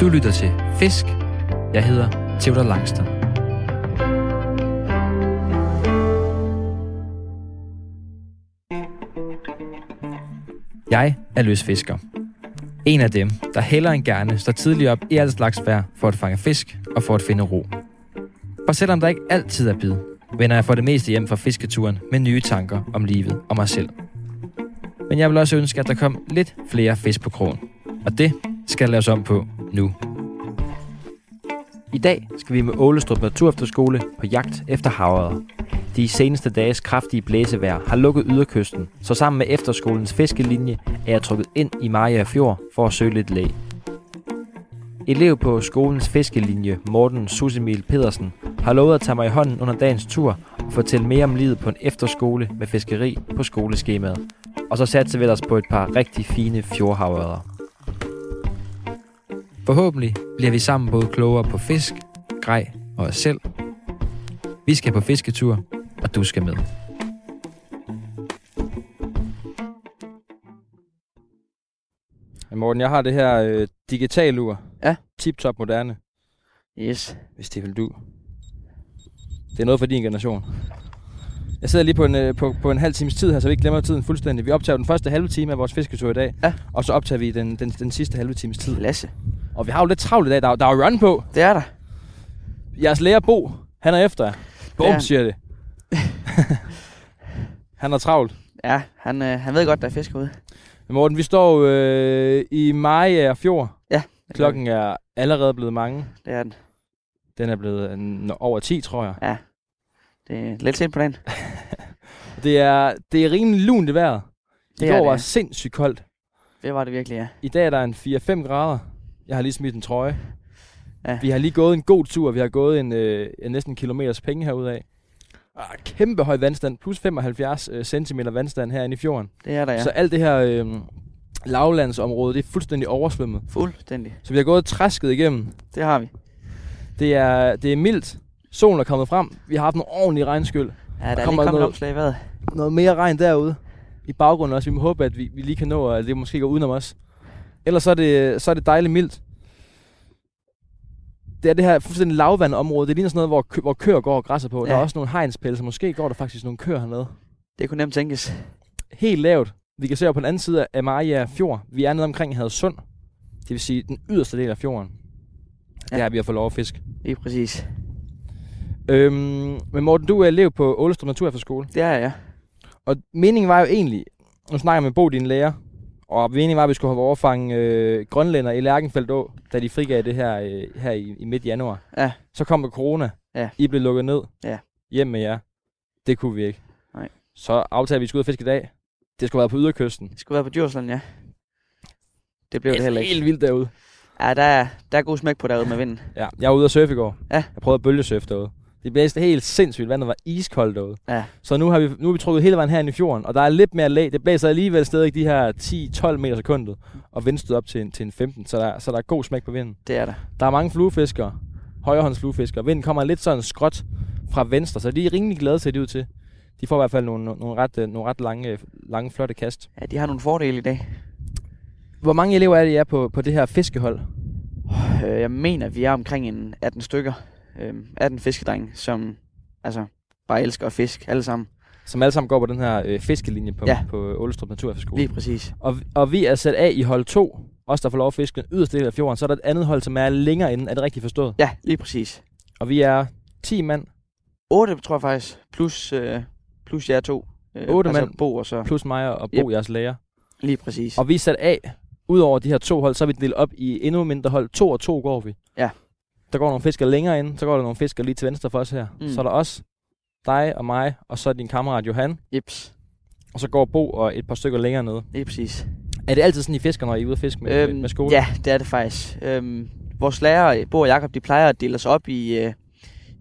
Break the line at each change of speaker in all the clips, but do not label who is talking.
Du lytter til Fisk. Jeg hedder Theodor Langstrøm. Jeg er løsfisker. En af dem, der hellere end gerne står tidligt op i alt slags vejr for at fange fisk og for at finde ro. For selvom der ikke altid er bid, vender jeg for det meste hjem fra fisketuren med nye tanker om livet og mig selv. Men jeg vil også ønske, at der kom lidt flere fisk på krogen. Og det skal laves om på nu.
I dag skal vi med Ålestrup Naturefterskole på jagt efter havørred. De seneste dages kraftige blæsevejr har lukket yderkysten, så sammen med efterskolens fiskelinje er jeg trukket ind i Maja Fjord for at søge lidt læ. Elev på skolens fiskelinje, Morten Susemil Pedersen, har lovet at tage mig i hånden under dagens tur og fortælle mere om livet på en efterskole med fiskeri på skoleskemaet. Og så satser vi ellers på et par rigtig fine fjordhavørder.
Forhåbentlig bliver vi sammen både klogere på fisk, grej og os selv. Vi skal på fisketur, og du skal med.
Morten, jeg har det her øh, digital ur.
Ja.
Tip-top moderne,
Yes.
hvis det vil du. Det er noget for din generation. Jeg sidder lige på en, øh, på, på en halv times tid her, så vi ikke glemmer tiden fuldstændig. Vi optager den første halve time af vores fisketur i dag.
Ja.
Og så optager vi den, den, den sidste halve times tid.
Klasse.
Og vi har jo lidt travlt i dag. Der er, der er jo run på.
Det er der.
Jeres lærer Bo, han er efter jer. Bum,
Ja.
siger det. han er travlt.
Ja, han, øh, han ved godt, der er fisk ude.
Men Morten, vi står jo, øh, i Maja Fjord. Klokken er allerede blevet mange.
Det er den.
Den er blevet øh, over 10, tror jeg.
Det er lidt sent på dagen.
Det er, det er rimelig lunt i vejret. I
Det
går
er
var
det.
sindssygt koldt.
Det var det virkelig, ja.
I dag er der en 4-5 grader. Jeg har lige smidt en trøje.
Ja.
Vi har lige gået en god tur. Vi har gået en, øh, en næsten kilometers penge herude af. Ah, kæmpe høj vandstand. Plus 75 øh, cm vandstand herinde i fjorden.
Det er der,
Ja.
ja.
Så alt det her øh, lavlandsområde, det er fuldstændig oversvømmet.
Fuldstændig.
Så vi har gået træsket igennem.
Det har vi.
Det er, det er mildt. Solen er kommet frem. Vi har haft en ordentlig regnskyld.
Ja, der er lige
kommer
kommet
noget-
et opslag i vejret.
noget mere regn derude i baggrunden også. Vi må håbe, at vi, vi lige kan nå, at det måske går udenom os. Ellers så er det, så er det dejligt mildt. Det er det her fuldstændig lavvandområde. Det ligner sådan noget, hvor, kø, hvor køer går og græsser på. Ja. Der er
Ja.
også nogle hegnspælse. Måske går der faktisk nogle køer hernede.
Det kunne nemt tænkes.
Helt lavt. Vi kan se over på den anden side af Maria Fjord. Vi er nede omkring Hadsund. Det vil sige den yderste del af fjorden. Ja.
Ja.
Det er, vi har fået lov at fiske.
Lige præcis.
Øhm, men Morten, du er elev på Ålestrup Naturefterskole.
Det er jeg, ja.
Og meningen var jo egentlig, nu snakker jeg med Bo, din lærer, og meningen var, at vi skulle have overfange øh, grønlænder i Lærkenfeldt Å, da de frigav det her, øh, her i, i midt januar.
Ja.
Så kom der corona.
Ja.
I blev lukket ned.
Ja.
Hjem med jer. Det kunne vi ikke.
Nej.
Så aftalte vi, at vi skulle ud og fiske i dag. Det skulle have været på yderkysten.
Det skulle være på Djursland, ja. Det blev det heller ikke.
Helt vildt derude.
Ja, der er, der er god smæk på derude med vinden.
Ja, jeg var ude at surfe i går.
Ja.
Jeg prøvede at bølgesurfe derude. Det blæste helt sindssygt. Vandet var iskoldt derude.
Ja.
Så nu har vi, nu er vi trukket hele vejen her i fjorden, og der er lidt mere læ. Det blæser alligevel stadig de her 10-12 meter sekundet, og vindstød op til en, til en 15, så der, så der er god smæk på vinden.
Det er der.
Der er mange fluefiskere, højrehåndsfluefiskere. Vinden kommer lidt sådan skråt fra venstre, så de er rimelig glade til det ud til. De får i hvert fald nogle, nogle, nogle ret, øh, nogle ret lange, øh, lange, flotte kast.
Ja, de har nogle fordele i dag.
Hvor mange elever er det, I er på, på det her fiskehold?
Øh, jeg mener, vi er omkring en 18 stykker. Øh, 18 fiskedrenge, som altså bare elsker at fiske alle sammen.
Som alle sammen går på den her øh, fiskelinje på, ja.
Ja.
på Ålestrup Naturfagskole.
Lige præcis.
Og, og vi er sat af i hold 2, os der får lov at fiske den yderste del af fjorden. Så er der et andet hold, som er længere inde. Er det rigtigt forstået?
Ja, lige præcis.
Og vi er 10 mand
8, tror jeg faktisk, plus, øh, plus jer to. Øh,
Otte
altså
mand.
Bo og så
plus mig og Bo, yep. jeres lærer.
lige præcis. Og
Og vi er sat af. Udover de her to hold, så er vi delt op i endnu mindre hold. To og to går vi.
Ja.
Der går nogle fisker længere ind, så går der nogle fisker lige til venstre for os her. Mm.
Mm.
Så er der os, dig og mig, og så din kammerat Johan.
Jeps,
Og så går Bo og et par stykker længere ned.
lige præcis.
Er det altid sådan, I fisker, når I er ude at fiske med, øhm, med, med skole?
Ja, det er det faktisk. Øhm, vores lærere, Bo og Jakob, de plejer at dele os op i, øh,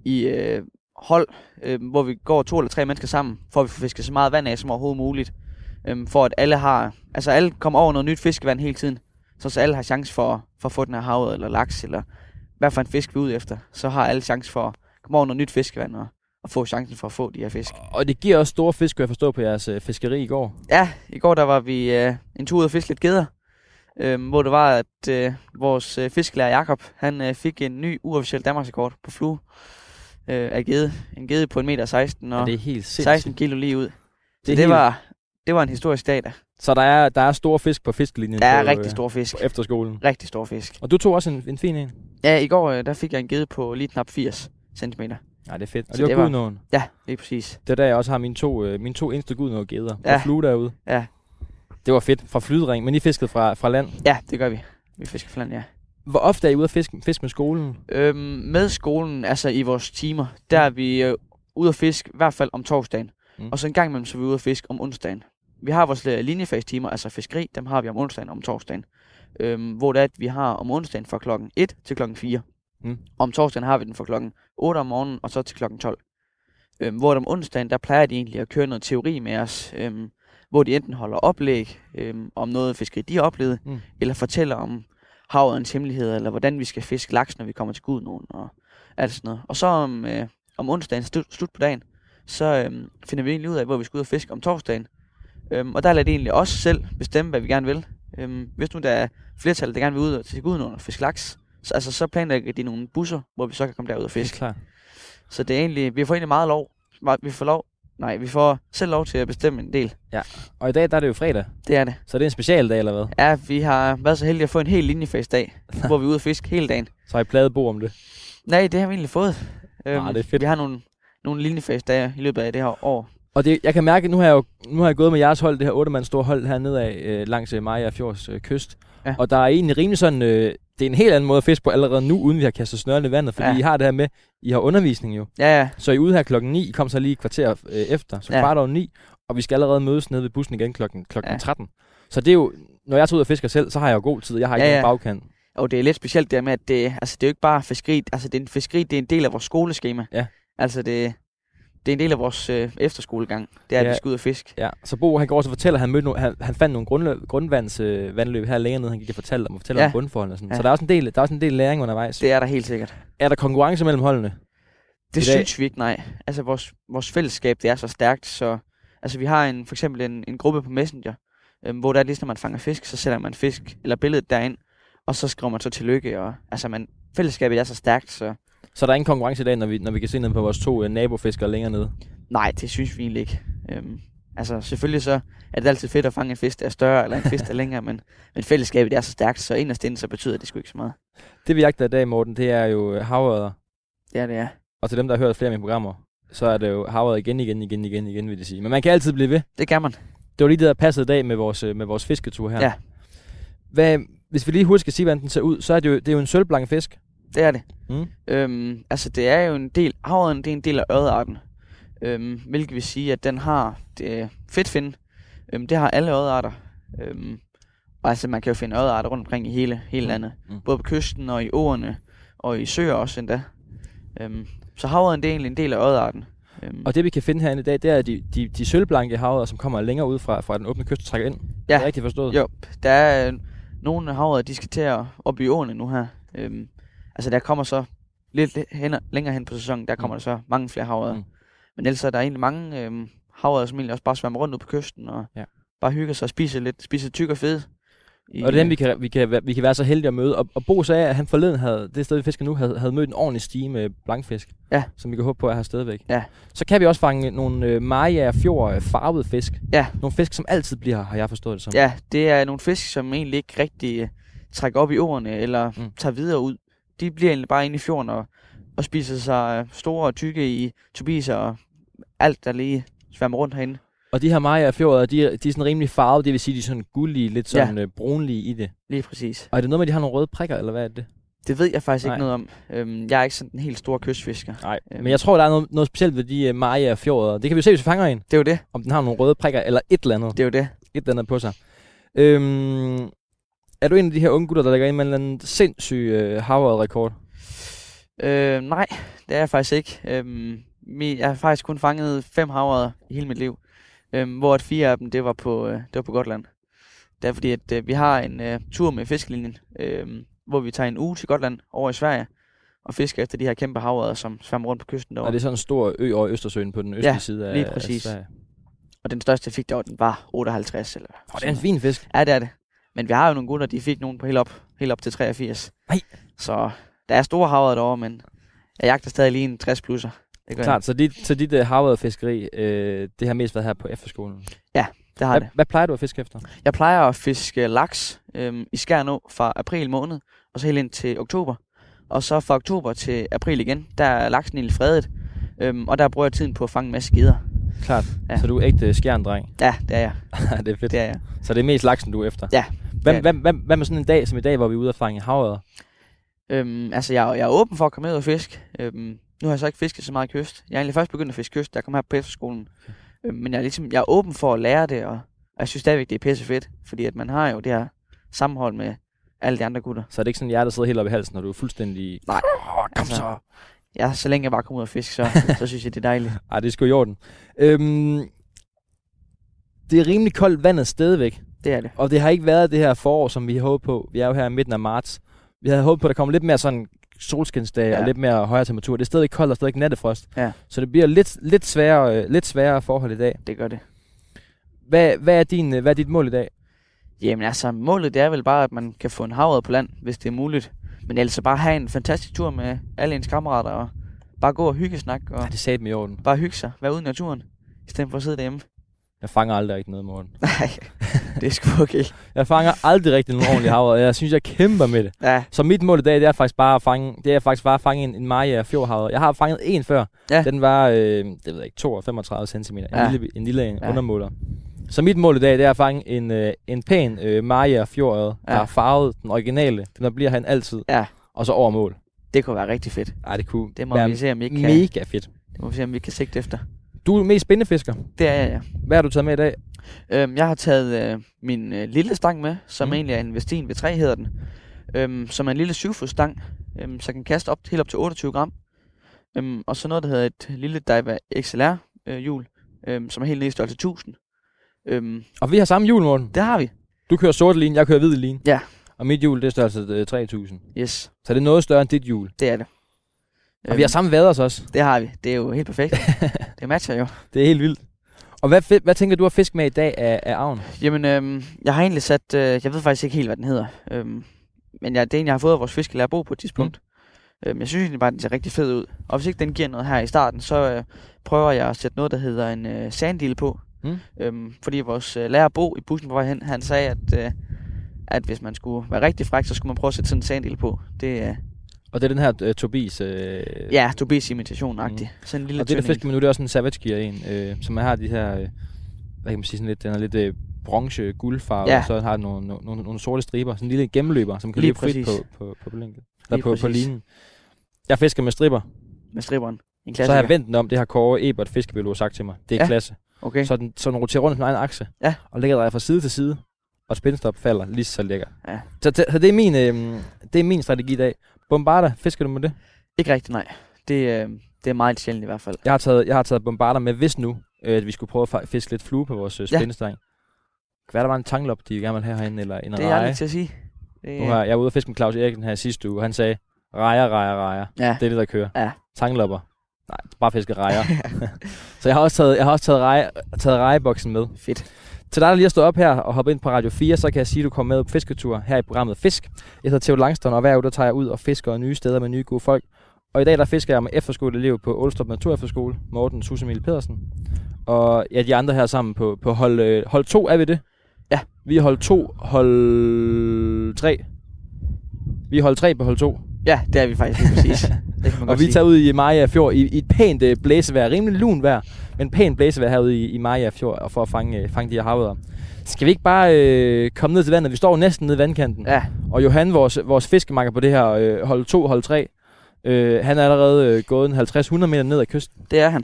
i øh, hold, øh, hvor vi går to eller tre mennesker sammen, for at vi får fisket så meget vand af som overhovedet muligt. Øhm, for at alle har, altså alle kommer over noget nyt fiskevand hele tiden, så, så alle har chance for, for at få den her havet eller laks, eller hvad for en fisk vi er ude efter. Så har alle chance for at komme over noget nyt fiskevand og, og få chancen for at få de her fisk.
Og det giver også store fisk, kunne jeg forstå på jeres øh, fiskeri i går.
Ja, i går der var vi øh, en tur ud og fiske lidt geder. øh, hvor det var, at øh, vores øh, fiskelærer Jakob han øh, fik en ny uofficiel Danmarksrekord på flue øh, af gede. En gede på 1,16 meter 16
Ja,
og
det er helt sindssygt.
16 kilo lige ud. Så
er
det,
helt-
var, det var en historisk dag, der.
Så der er, der er store fisk på fiskelinjen
Der er
på,
rigtig
øh,
stor fisk.
på efterskolen.
Rigtig stor fisk.
Og du tog også en, en fin en.
Ja, i går øh, der fik jeg en gede på lige knap 80 cm.
Ja, det er fedt. Og
Så
det,
det
var
var-
gudnåen.
Ja, lige præcis.
Det er der, jeg også har mine to, øh, mine to eneste gudnåede geder. Ja. Og
Ja.
flue derude.
Ja.
Det var fedt. Fra flydring, men I fiskede fra, fra land.
Ja, det gør vi. Vi fisker flan, ja.
Hvor ofte er I ude at fiske, fiske med skolen?
Øhm, med skolen, altså i vores timer, der er vi øh, ude at fiske, i hvert fald om torsdagen.
Mm.
Mm. Og så en gang imellem, så er vi ude at fiske om onsdagen. Vi har vores øh, linjefagstimer, altså fiskeri, dem har vi om onsdagen og om torsdagen. Øhm, hvor det er, at vi har om onsdagen fra klokken 1 til klokken 4.
Mm.
Om torsdagen har vi den fra klokken 8 om morgenen og så til klokken 12. Øhm, hvor om onsdagen, der plejer de egentlig at køre noget teori med os, øhm, hvor de enten holder oplæg øhm, om noget fiskeri, de har oplevet,
Mm.
mm. eller fortæller om havets hemmeligheder, eller hvordan vi skal fiske laks, når vi kommer til Gudnåen, og alt sådan noget. Og så om, øh, om onsdagen, slut, slut på dagen, så øhm, finder vi egentlig ud af, hvor vi skal ud og fiske om torsdagen. Øhm, og der lader det egentlig os selv bestemme, hvad vi gerne vil. Øhm, hvis nu der er flertal, der gerne vil ud til Gudnåen og fiske laks, så, altså, så planlægger de nogle busser, hvor vi så kan komme derud og fiske.
klart.
Så det er egentlig, vi får egentlig meget lov. meget- Vi får lov, nej, vi får selv lov til at bestemme en del.
Og i dag, der er det jo fredag.
Det er det.
Så det er en specialdag, eller hvad?
Ja, vi har været så heldige at få en hel linjefagsdag, hvor vi er ude og fiske hele dagen.
Så har I pladet bo om det.
Nej, det har vi egentlig fået. Øhm,
Ah, det er fedt.
Vi har nogle, nogle linjefagsdage i løbet af det her år.
Og det, jeg kan mærke, at nu har jeg jo nu har jeg gået med jeres hold, det her otte mand store hold hernede af øh, langs øh, Maja Fjords øh, kyst. Ja.
Ja.
Og der er egentlig rimelig sådan, øh, det er en helt anden måde at fiske på allerede nu, uden vi har kastet snøren i vandet, fordi ja.
Ja.
I har det her med, I har undervisning jo.
Ja, ja,
Så I er ude her klokken 9, I kom så lige et kvarter øh, efter, så ja.
Ja.
kvart over 9, og vi skal allerede mødes nede ved bussen igen klokken, klokken ja.
Ja.
13. Så det er jo, når jeg tager ud og fisker selv, så har jeg jo god tid, jeg har ikke ja,
Ja,
ja.
ja.
nogen bagkant.
Og det er lidt specielt der med, at det, altså, det er jo ikke bare fiskeri. Altså, det er en fiskeri, det er en del af vores skoleskema.
Ja.
Altså, det, det er en del af vores øh, efterskolegang. Det er, ja.
Ja.
at vi skal ud og fiske.
Ja, så Bo han går også og fortæller, at han, mødte no- han, han fandt nogle grundløb, grundvands, øh, vandløb her længere nede, han gik og fortalte om, og fortæller ja.
Ja.
om grundforholdene. og Sådan. Ja.
Ja.
Så der er, også en del, der er også en del læring undervejs. Det.
Det er der helt sikkert.
Er der konkurrence mellem holdene?
Det
I dag-
synes vi ikke, nej. Altså, vores, vores fællesskab, det er så stærkt, så... Altså, vi har en, for eksempel en, en gruppe på Messenger, øhm, hvor der er lige, når man fanger fisk, så sætter man fisk eller billedet derind, og så skriver man så tillykke, og altså, man, fællesskabet er så stærkt, så
Så der er ingen konkurrence i dag, når vi, når vi kan se ned på vores to øh, nabofiskere længere nede.
nej, det synes vi egentlig ikke. Øhm, altså, selvfølgelig så er det altid fedt at fange en fisk, der er større, eller en fisk, der er længere, men, men fællesskabet er så stærkt, så inderst inde, så betyder det sgu ikke så meget.
Det vi jagter i dag, Morten, det er jo øh, havørder.
Det er det, ja.
Og til dem, der har hørt flere af mine programmer, så er det jo havørder igen, igen, igen, igen, igen, vil de sige. Men man kan altid blive ved.
Det kan man.
Det var lige det, der passede i dag med vores, øh, med vores fisketur her.
Ja.
Hvad, hvis vi lige hurtigt skal sige, hvordan den ser ud, så er det jo, det er jo en sølvblank fisk.
Det er det.
Mm.
Øhm, altså, det er jo en del, havren det er en del af ørdearten. Øhm, hvilket vil sige, at den har det, fedtfinde. Øhm, det har alle ørdearter. Øhm, og altså, man kan jo finde ørdearter rundt omkring i hele, hele
Mm.
landet.
Mm.
Både på kysten og i åerne og i søer også endda. Øhm, så havren det er egentlig en del af ørdearten. Øhm,
Og det vi kan finde herinde i dag, det er de, de, de sølvblanke havørder, som kommer længere ud fra, fra den åbne kyst og trækker ind. Ja. Er det rigtigt forstået?
Jo, der er øh, nogle havre, de skal til at op i åerne nu her. Øhm, altså der kommer så lidt lidt hen, længere hen på sæsonen, der kommer
Mm.
der så mange flere havre.
Mm.
Mm. Men ellers er der egentlig mange øhm, havre, som egentlig også bare svømmer rundt ud på kysten og
Ja.
ja. bare hygger sig og spiser lidt, spiser tyk og fed. I,
Og det er dem, vi kan, vi, kan, være- vi kan være så heldige at møde. Og, og Bo sagde, at han forleden havde, det sted, vi fisker nu, havde, havde mødt en ordentlig stige med blankfisk.
Ja.
Som vi kan håbe på er her stadigvæk.
Ja.
Så kan vi også fange nogle øh, Maja Fjord øh, farvede fisk.
Ja.
Nogle fisk, som altid bliver her, har jeg forstået det som.
Ja, det er nogle fisk, som egentlig ikke rigtig øh, trækker op i åerne eller
Mm.
mm. tager videre ud. De bliver egentlig bare inde i fjorden og, og spiser sig øh, store og tykke i tubiser og alt, der lige sværmer rundt herinde.
Og de her Maja Fjorder, de, er- de er sådan rimelig farvede, det vil sige, de er sådan gullige, lidt
Ja.
sådan øh, brunlige i det.
Lige præcis.
Og er det noget med, at de har nogle røde prikker, eller hvad er det?
Det ved jeg faktisk
Nej.
ikke noget om. Øhm, jeg er ikke sådan en helt stor kystfisker.
Nej.
Øhm.
Men jeg tror, der er noget, noget specielt ved de øh, Maja Fjorder. Det kan vi jo se, hvis vi fanger en,
Det er jo det.
om den har nogle røde prikker, eller et eller andet.
Det er jo det.
et eller andet på sig. Øhm, er du en af de her unge gutter, der lægger ind med en eller anden sindssyg øh, Harvard-rekord?
Øhm, nej, det er jeg faktisk ikke. Øhm, mi- jeg har faktisk kun fanget fem havre i hele mit liv. Øhm, hvor at fire af dem, det var på, øh, det var på Gotland. Det er fordi, at øh, vi har en øh, tur med fiskelinjen, øh, hvor vi tager en uge til Gotland over i Sverige og fisker efter de her kæmpe havre, som svømmer rundt på kysten
Og
derovre.
det er sådan en stor ø over Østersøen på den østlige
Ja,
side af,
lige præcis.
af Sverige.
Og den største, jeg fik derovre, den var 58. Eller
Og det er en fin fisk.
Ja, det er det. Men vi har jo nogle gutter, de fik nogen på helt op, helt op til 83.
Nej.
Så der er store havre derovre, men jeg jagter stadig lige en 60 plusser. Det gør
Klart, så dit, så dit uh, havredfiskeri, øh, det har mest været her på efterskolen.
jeg. Det har
Hvad,
det.
hvad plejer du at fiske efter?
Jeg plejer at fiske laks øhm, i Skærnå fra april måned, og så helt ind til oktober. Og så fra oktober til april igen, der er laksen egentlig fredet. Øhm, og der bruger jeg tiden på at fange en masse skider.
Klart,
Ja.
ja. så du er ægte skjerndreng.
Ja, det er jeg.
Ja, det er fedt.
Det er jeg.
Så det er mest laksen, du er efter?
Ja.
Hvad,
Ja.
Hvad, hvad, hvad med sådan en dag som i dag, hvor vi er ude og fange havørder?
Øhm, altså, jeg, er- jeg er åben for at komme ud og fiske. Øhm, nu har jeg så ikke fisket så meget kyst. Jeg er egentlig først begyndt at fiske kyst, da jeg kom her på efterskolen. Øhm, men jeg er, ligesom, jeg er åben for at lære det, og, og jeg synes stadigvæk, det er pisse fedt. Fordi at man har jo det her sammenhold med alle de andre gutter.
Så er det ikke sådan, at hjertet sidder helt oppe i halsen, når du er fuldstændig...
Nej.
Oh, kom
Altså.
altså. så!
Ja, så længe jeg bare kommer ud og fiske, så, så synes jeg, det er dejligt.
Ej, det er sgu i orden. Øhm, det er rimelig koldt vandet stadigvæk,
Det er det.
og det har ikke været det her forår, som vi håbede på. Vi er jo her i midten af marts. Vi havde håbet på, at der kommer lidt mere sådan solskinsdage ja.
Ja.
og lidt mere højere temperatur. Det er stadig koldt og stadig nattefrost.
Ja.
Så det bliver lidt, lidt, sværere, øh, lidt sværere forhold i dag.
Det gør det.
Hvad, hvad, er din, øh, hvad er dit mål i dag?
Jamen altså, målet det er vel bare, at man kan få en havred på land, hvis det er muligt. Men ellers så bare have en fantastisk tur med alle ens kammerater, og bare gå og hygge snak, og
Ja, det sagde dem i orden.
bare hygge sig, være ude i naturen, i stedet for at sidde derhjemme.
Jeg fanger aldrig rigtig noget, Morten.
Nej, det er sgu okay.
Jeg fanger aldrig rigtig nogen ordentlig havre, jeg synes, jeg kæmper med det.
Ja,
Så mit mål i dag, det er faktisk bare at fange, det er faktisk bare at fange en, en Maja fjordhavre. Jeg har fanget en før.
Ja.
Den var, øh, det ved jeg ikke, 32 cm. En,
Ja.
ja. lille, en lille en
Ja.
ja. undermåler. Så mit mål i dag, det er at fange en, øh, en pæn øh, Maja fjordhavre, ja.
Ja.
der er farvet den originale. Den der bliver han altid.
Ja.
Og så over mål.
det kunne være rigtig fedt.
Ej, det kunne
Det må
være
vi se, om vi ikke kan,
mega fedt.
det må vi se, om vi kan sigte efter.
Du er mest spindefisker.
Det er jeg, ja.
Hvad har du taget med i dag?
Øhm, jeg har taget øh, min øh, lille stang med, som mm.
Mm.
egentlig er en Vestin V3, hedder den. Øhm, som er en lille 7 stang, øhm, så den kan kaste op, helt op til 28 gram. Øhm, og så noget, der hedder et lille Daiwa XLR øh, hjul, øhm, som er helt nede i størrelse 1000. Øhm,
Og vi har samme hjul, Morten.
det har vi.
Du kører sorte line, jeg kører hvid line.
Ja.
Og mit hjul, det er størrelse øh, 3000.
Yes,
Så det er noget større end dit hjul.
det er det.
Og
Øhm.
vi har samme vaders også.
det har vi. Det er jo helt perfekt. det matcher jo.
Det er helt vildt. Og hvad, fe- hvad tænker du at fisk med i dag af, af arven?
Jamen, øhm, jeg har egentlig sat, øh, jeg ved faktisk ikke helt, hvad den hedder, øhm, men jeg, det er en, jeg har fået af vores fiskelærer Bo på et tidspunkt. Mm. Øhm, jeg synes egentlig bare, den ser rigtig fed ud. Og hvis ikke den giver noget her i starten, så øh, prøver jeg at sætte noget, der hedder en øh, sanddil på.
Mm.
Øhm, fordi vores øh, lærer Bo i bussen på vej hen, han sagde, at, øh, at hvis man skulle være rigtig fræk, så skulle man prøve at sætte sådan en sanddil på. Det er,
Og det er den her uh, Tobias... Øh,
øh, ja, Tobias imitation-agtig. Mm. Sådan en lille
og det, der
tynd
fisk med nu, det er også en Savage Gear en, øh, som har de her... Øh, hvad kan man sige sådan lidt? Den er lidt øh, bronze guldfarve,
Ja.
ja. og så har den nogle, nogle, nogle, nogle sorte striber. Sådan en lille gennemløber, som kan
Lige
løbe frit
præcis.
på, på, på, blinket, eller
Lige
på, på
præcis.
linen. Jeg fisker med striber,
en med striberen. En
så
klassiker.
har jeg vendt den om. Det har Kåre Ebert, fiskebiolog, sagt til mig. Det er
Ja.
ja. klasse.
Okay.
Så den, så den roterer rundt i sin egen akse,
Ja.
og ligger der fra side til side, og spindstop falder lige så lækker.
Ja.
Så, t- så det, er min, øh, det er min strategi i dag. Bombarder, fisker du med det?
Ikke rigtig, nej. Det, øh, det er meget sjældent i hvert fald.
Jeg har taget, jeg har taget bombarder med, hvis nu, øh, at vi skulle prøve at fa- fiske lidt flue på vores øh,
Ja.
spændestang. Kan være, der var en tanglop, de gerne ville have herinde, eller en
Det er jeg
reje.
aldrig til at sige. Det,
Nu har jeg, jeg var ude og fiske med Claus Eriksen her sidste uge, og han sagde, rejer, rejer, rejer.
Ja,
Det er det, der kører.
Ja.
Tanglopper. Nej, bare fiske rejer. så jeg har også taget, jeg har også taget, reje, taget rejeboksen med.
fedt.
Til dig, der lige har stået op her og hoppet ind på Radio 4, så kan jeg sige, at du kommer med på fisketur her i programmet Fisk. Jeg hedder Theo Langstrøm, og hver uge der tager jeg ud og fisker nye steder med nye gode folk. Og i dag der fisker jeg med efterskoleelev på Aalstrup Naturefterskole, Morten Susemil Pedersen. Og ja, de andre her sammen på, på hold, øh, hold 2, er vi det?
Ja.
Vi er hold 2, hold 3. Vi er hold 3 på hold 2.
Ja, det er vi faktisk lige præcis. Det kan man
Og
godt
vi
sige.
tager ud i Maja Fjord i, i et pænt øh, blæsevejr, rimelig lun vejr, men pænt blæsevejr herude i, i Maja Fjord og for at fange, øh, fange de her havøder. Skal vi ikke bare øh, komme ned til vandet? Vi står jo næsten nede i vandkanten.
Ja,
Og Johan, vores, vores fiskemakker på det her øh, hold 2, hold 3, øh, han er allerede øh, gået en 50-100 meter ned ad kysten.
det er han.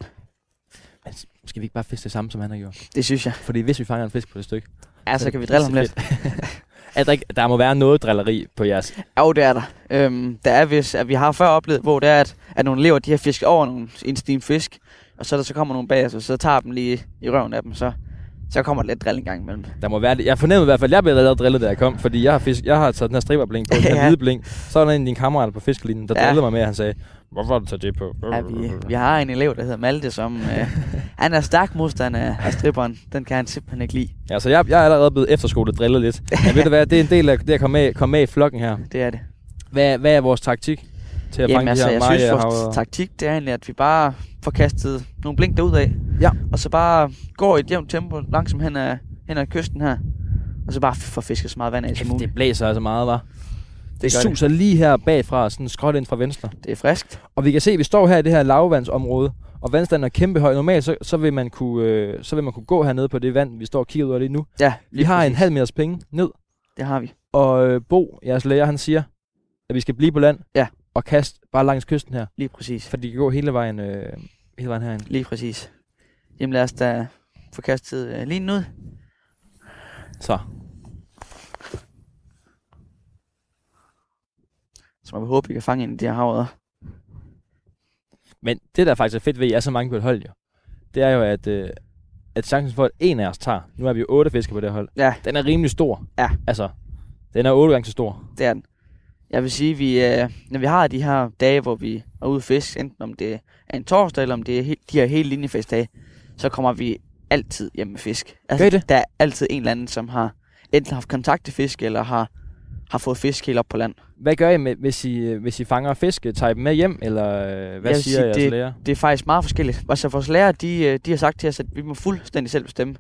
Men s- skal vi ikke bare fiske det samme, som han har gjort?
Det synes jeg.
Fordi hvis vi fanger en fisk på det stykke...
Ja, så kan vi drille ham lidt.
at der, ikke, der må være noget drilleri på jeres...
Jo, det er der. Øhm, der er hvis, at vi har før oplevet, hvor det er, at, at nogle elever, de har fisket over nogle, en stim fisk, og så der så kommer nogle bag os, og så tager dem lige i røven af dem, så, så kommer der lidt drill en gang imellem.
Der må være det. Jeg fornemmede i hvert fald, at jeg blev allerede drillet, da jeg kom, fordi jeg har, fisk, jeg har taget den her striberbling på, den her
Ja.
hvide blink. Så var der en af dine kammerater på fiskelinjen, der
Ja.
drillede mig med, at han sagde, hvorfor har du taget det på?
Ja, vi, vi har en elev, der hedder Malte, som øh, Han er stærk modstander af- af stripperen. Den kan han simpelthen ikke lide.
Ja, så jeg, jeg er allerede blevet efterskolet drillet lidt. Men ved du hvad, det er en del af det at komme med, komme med i flokken her.
Det er det.
Hvad, hvad er vores taktik til at
Jamen
fange
altså,
de her
jeg synes,
Maja-havre?
vores taktik, det er egentlig, at vi bare får kastet nogle blink derudad.
Ja.
Og så bare går i et jævnt tempo langsomt hen ad, hen ad kysten her. Og så bare f- får fisket så meget vand af som
Kæft,
muligt.
det blæser altså meget, var. Det, det
gør det.
suser lige her bagfra, sådan skråt ind fra venstre.
Det er friskt.
Og vi kan se, at vi står her i det her lavvandsområde, og vandstanden er kæmpe høj. Normalt så, så, vil man kunne, øh, så vil man kunne gå hernede på det vand, vi står og kigger ud over lige nu.
Ja,
Vi
lige
har en
præcis.
halv meters penge ned,
Det har vi.
og øh, Bo, jeres læger, han siger, at vi skal blive på land
Ja.
og kaste bare langs kysten her,
Lige præcis.
for de kan gå hele vejen, øh, hele vejen herind.
Lige præcis. Jamen lad os da få kastet øh, lige ud.
Så.
Så må vi håbe, vi kan fange en af de her havre.
Men det, der er faktisk er fedt ved, at I er så mange på et hold, jo, det er jo, at, øh, at chancen for, at en af os tager, nu er vi jo otte fiskere på det her hold,
Ja.
den er rimelig stor.
Ja.
Altså, den er otte gange så stor.
Det er den. Jeg vil sige, vi, øh, når vi har de her dage, hvor vi er ude at fiske, enten om det er en torsdag, eller om det er he- de her hele linjefestdage, så kommer vi altid hjem med fisk. Altså,
Gør I det?
Der er altid en eller anden, som har enten haft kontakt til fisk, eller har, har fået fisk helt op på land.
Hvad gør I, med, hvis, I, øh, hvis I fanger fisk? Tager I dem med hjem, eller øh, hvad
Jeg vil
siger
sige,
jeres
det-
læger?
Det er faktisk meget forskelligt. Altså vores lærer, de, øh, de har sagt til os, at vi må fuldstændig selv bestemme.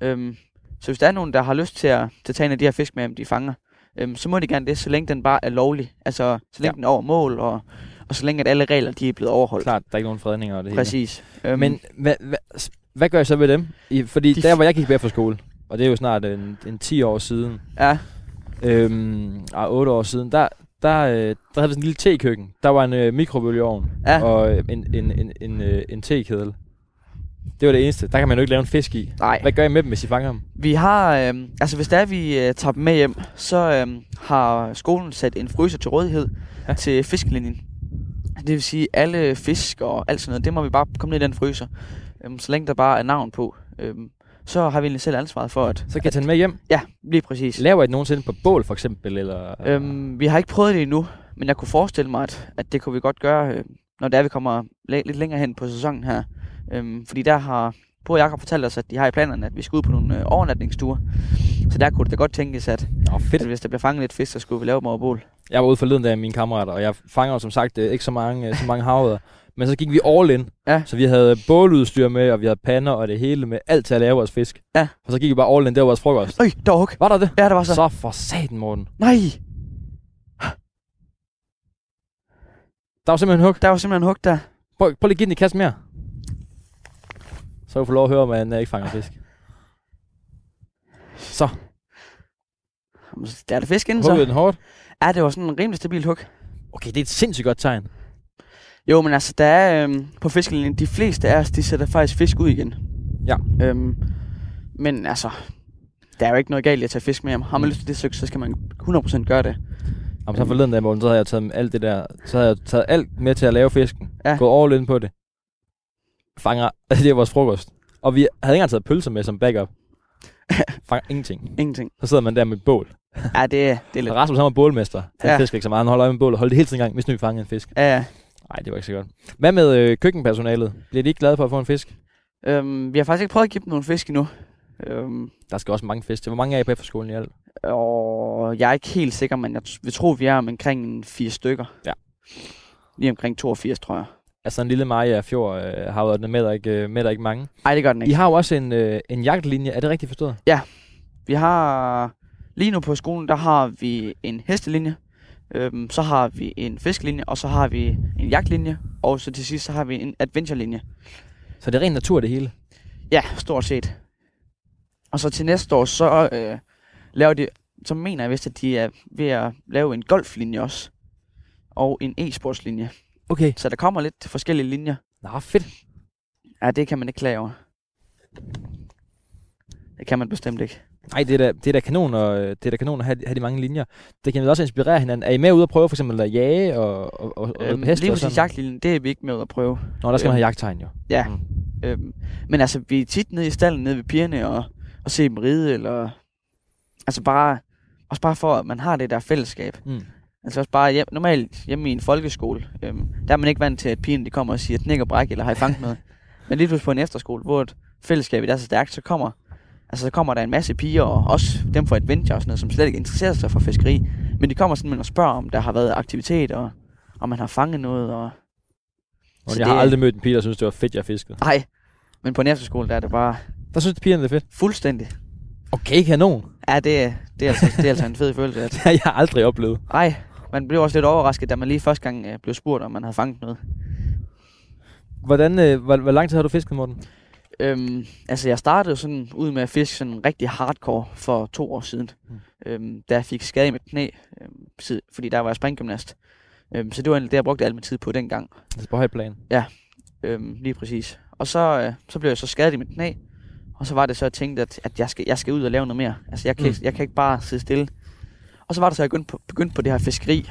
Øhm, så hvis der er nogen, der har lyst til at, til at tage en af de her fisk med, om de fanger, øhm, så må de gerne det, så længe den bare er lovlig. Altså så længe
Ja.
ja. den er over mål, og, og så længe at alle regler de er blevet overholdt.
Klart, der er ikke nogen fredninger og det hele.
Præcis. Øhm,
Men hvad, hvad, s- hvad gør I så ved dem? I, fordi
De
der,
f-
hvor jeg gik på efterskole, og det er jo snart en, en 10 år siden,
ja,
øhm, og 8 år siden, der, der, øh, der havde vi sådan en lille tekøkken. Der var en øh, mikrobølgeovn
Ja.
og øh, en, en, en, en, øh, en tekedel. Det var det eneste. Der kan man jo ikke lave en fisk i.
nej.
Hvad gør I med dem, hvis I fanger dem?
Vi har, øhm, altså hvis der er, vi øh, tager dem med hjem, så øhm, har skolen sat en fryser til rådighed
Ja.
ja. til fiskelinjen. Det vil sige, alle fisk og alt sådan noget, det må vi bare komme ned i den fryser. Øhm, så længe der bare er navn på, øhm, så har vi egentlig selv ansvaret for at...
Så kan I tage dem med hjem.
Ja, lige præcis.
Laver I det nogensinde på bål, for eksempel? Eller,
Øhm, vi har ikke prøvet det endnu, men jeg kunne forestille mig, at, at det kunne vi godt gøre, øh, når det er, vi kommer læ- lidt længere hen på sæsonen her. Øhm, fordi der har Bo og Jacob fortalt os, at de har i planerne, at vi skal ud på nogle øh, overnatningsture. Så der kunne det da godt tænkes, at,
Nå, fedt.
at Altså, hvis der bliver fanget lidt fisk, så skulle vi lave dem over bål.
Jeg var ude forleden dag med mine kammerater, og jeg fanger jo som sagt øh, ikke så mange, øh, så mange havøder. Men så gik vi all in.
Ja.
Så vi havde båludstyr med, og vi havde pander og det hele med alt til at lave vores fisk.
Ja.
Og så gik vi bare all in, det var vores frokost.
Øj, der var hug.
Var der det?
Ja, der var
Så,
så.
så for satan, Morten.
Nej,
Der var simpelthen hug.
der var simpelthen hug der.
Prøv, prøv lige at give den i kassen mere. Så kan du få lov at høre, om han øh, ikke fanger fisk. Så,
Jamen, så Der er der fisk inden
huggede
så.
den hårdt.
Ja, det var sådan en rimelig stabil hug.
Okay, det er et sindssygt godt tegn.
Jo, men altså, der er øhm, på fiskelinjen, de fleste af os, de sætter faktisk fisk ud igen.
Ja.
Øhm, men altså, der er jo ikke noget galt i at tage fisk med hjem. Har man lyst til det, så, så skal man 100% gøre det.
Jamen, så forleden dag, Morten, så havde jeg taget alt det der, så havde jeg taget alt med til at lave fisken. Ja.
Ja.
Gået all in på det. Fanger, det er vores frokost. Og vi havde ikke engang taget pølser med som backup. Fanger ingenting.
Ingenting.
Så sidder man der med et bål.
Ja, det, er- det er lidt...
Og Rasmus, han var bålmester. Han ja.
Ja.
fisker ikke så meget. Han holder øje med bålet og holdt det hele tiden i gang, hvis nu vi fangede en fisk.
Ja,
Nej, det var ikke så godt. Hvad med øh, køkkenpersonalet? Bliver de ikke glade for at få en fisk?
øhm, vi har faktisk ikke prøvet at give dem nogle fisk endnu. Øhm,
Der skal også mange fisk til. Hvor mange er I på efterskolen i alt?
og jeg er ikke helt sikker, men jeg t- vil tro, vi er om omkring en fire stykker.
Ja.
Lige omkring 82, tror jeg.
Altså en lille Maja Fjord øh, har jo den med der ikke, øh, med der ikke mange.
Ej, det gør den ikke.
I har jo også en, øh, en jagtlinje. Er det rigtigt forstået?
Vi har lige nu på skolen, der har vi en hestelinje, øhm, så har vi en fiskelinje, og så har vi en jagtlinje, og så til sidst så har vi en adventurelinje.
Så det er ren natur det hele.
Ja, stort set. Og så til næste år, så øh, laver de, så mener jeg vist, at de er ved at lave en golflinje også, og en e-sportslinje.
Okay.
Så der kommer lidt forskellige linjer.
Nå, fedt.
Ja, det kan man ikke klage over. Det kan man bestemt ikke.
Nej, det er da, det er da kanon, og, øh, det er da kanon at have, have de mange linjer. Det kan vel også inspirere hinanden. Er I med ude og prøve for eksempel at jage og, og, og, og øhm, heste
lige
og
præcis
sådan?
jagtlinjen, det er vi ikke med ud at prøve.
Nå, der skal man
øhm,
have jagttegn jo.
Ja.
Mm.
Mm. Øhm, men altså, vi er tit nede i stallen, nede ved pigerne, og, og se dem ride, eller... Altså bare... Også bare for, at man har det der fællesskab.
Mm.
Altså også bare hjem, normalt hjemme i en folkeskole. Øhm, der er man ikke vant til, at pigerne de kommer og siger, knæk og bræk, eller har I fanget noget? Men lige pludselig på en efterskole, hvor et fællesskab er så stærkt, så kommer, altså, så kommer der en masse piger, og også dem fra Adventure og sådan noget, som slet ikke interesserer sig for fiskeri. Men de kommer simpelthen og spørger, om der har været aktivitet, og om man har fanget noget. Og...
Og jeg har aldrig mødt en pige, der synes, det var fedt, jeg fiskede.
Nej, men på en efterskole, der er det bare
Der synes pigerne, det er fedt.
fuldstændig.
Okay, kanon.
Ja, det, det, er, altså, det er altså en fed følelse. At,
Det har jeg aldrig oplevet.
ej, man blev også lidt overrasket, da man lige første gang øh, blev spurgt, om man havde fanget noget.
Hvordan, øh, hvor, hvor lang tid har du fisket, Morten?
Øhm, altså, jeg startede sådan ud med at fiske sådan rigtig hardcore for to år siden.
Mm.
Mm. Øhm, da jeg fik skade i mit knæ, øhm, si- fordi der var jeg springgymnast. Øhm, så det var egentlig det, jeg brugte al min tid på dengang.
Altså på højplan.
Øhm, lige præcis. Og så, øh, så blev jeg så skadet i mit knæ. Og så var det så, jeg tænkte, at, at jeg, skal, jeg skal ud og lave noget mere. Altså, jeg kan, mm. jeg kan ikke bare sidde stille. Og så var det så, jeg begyndte på, begyndte på det her fiskeri.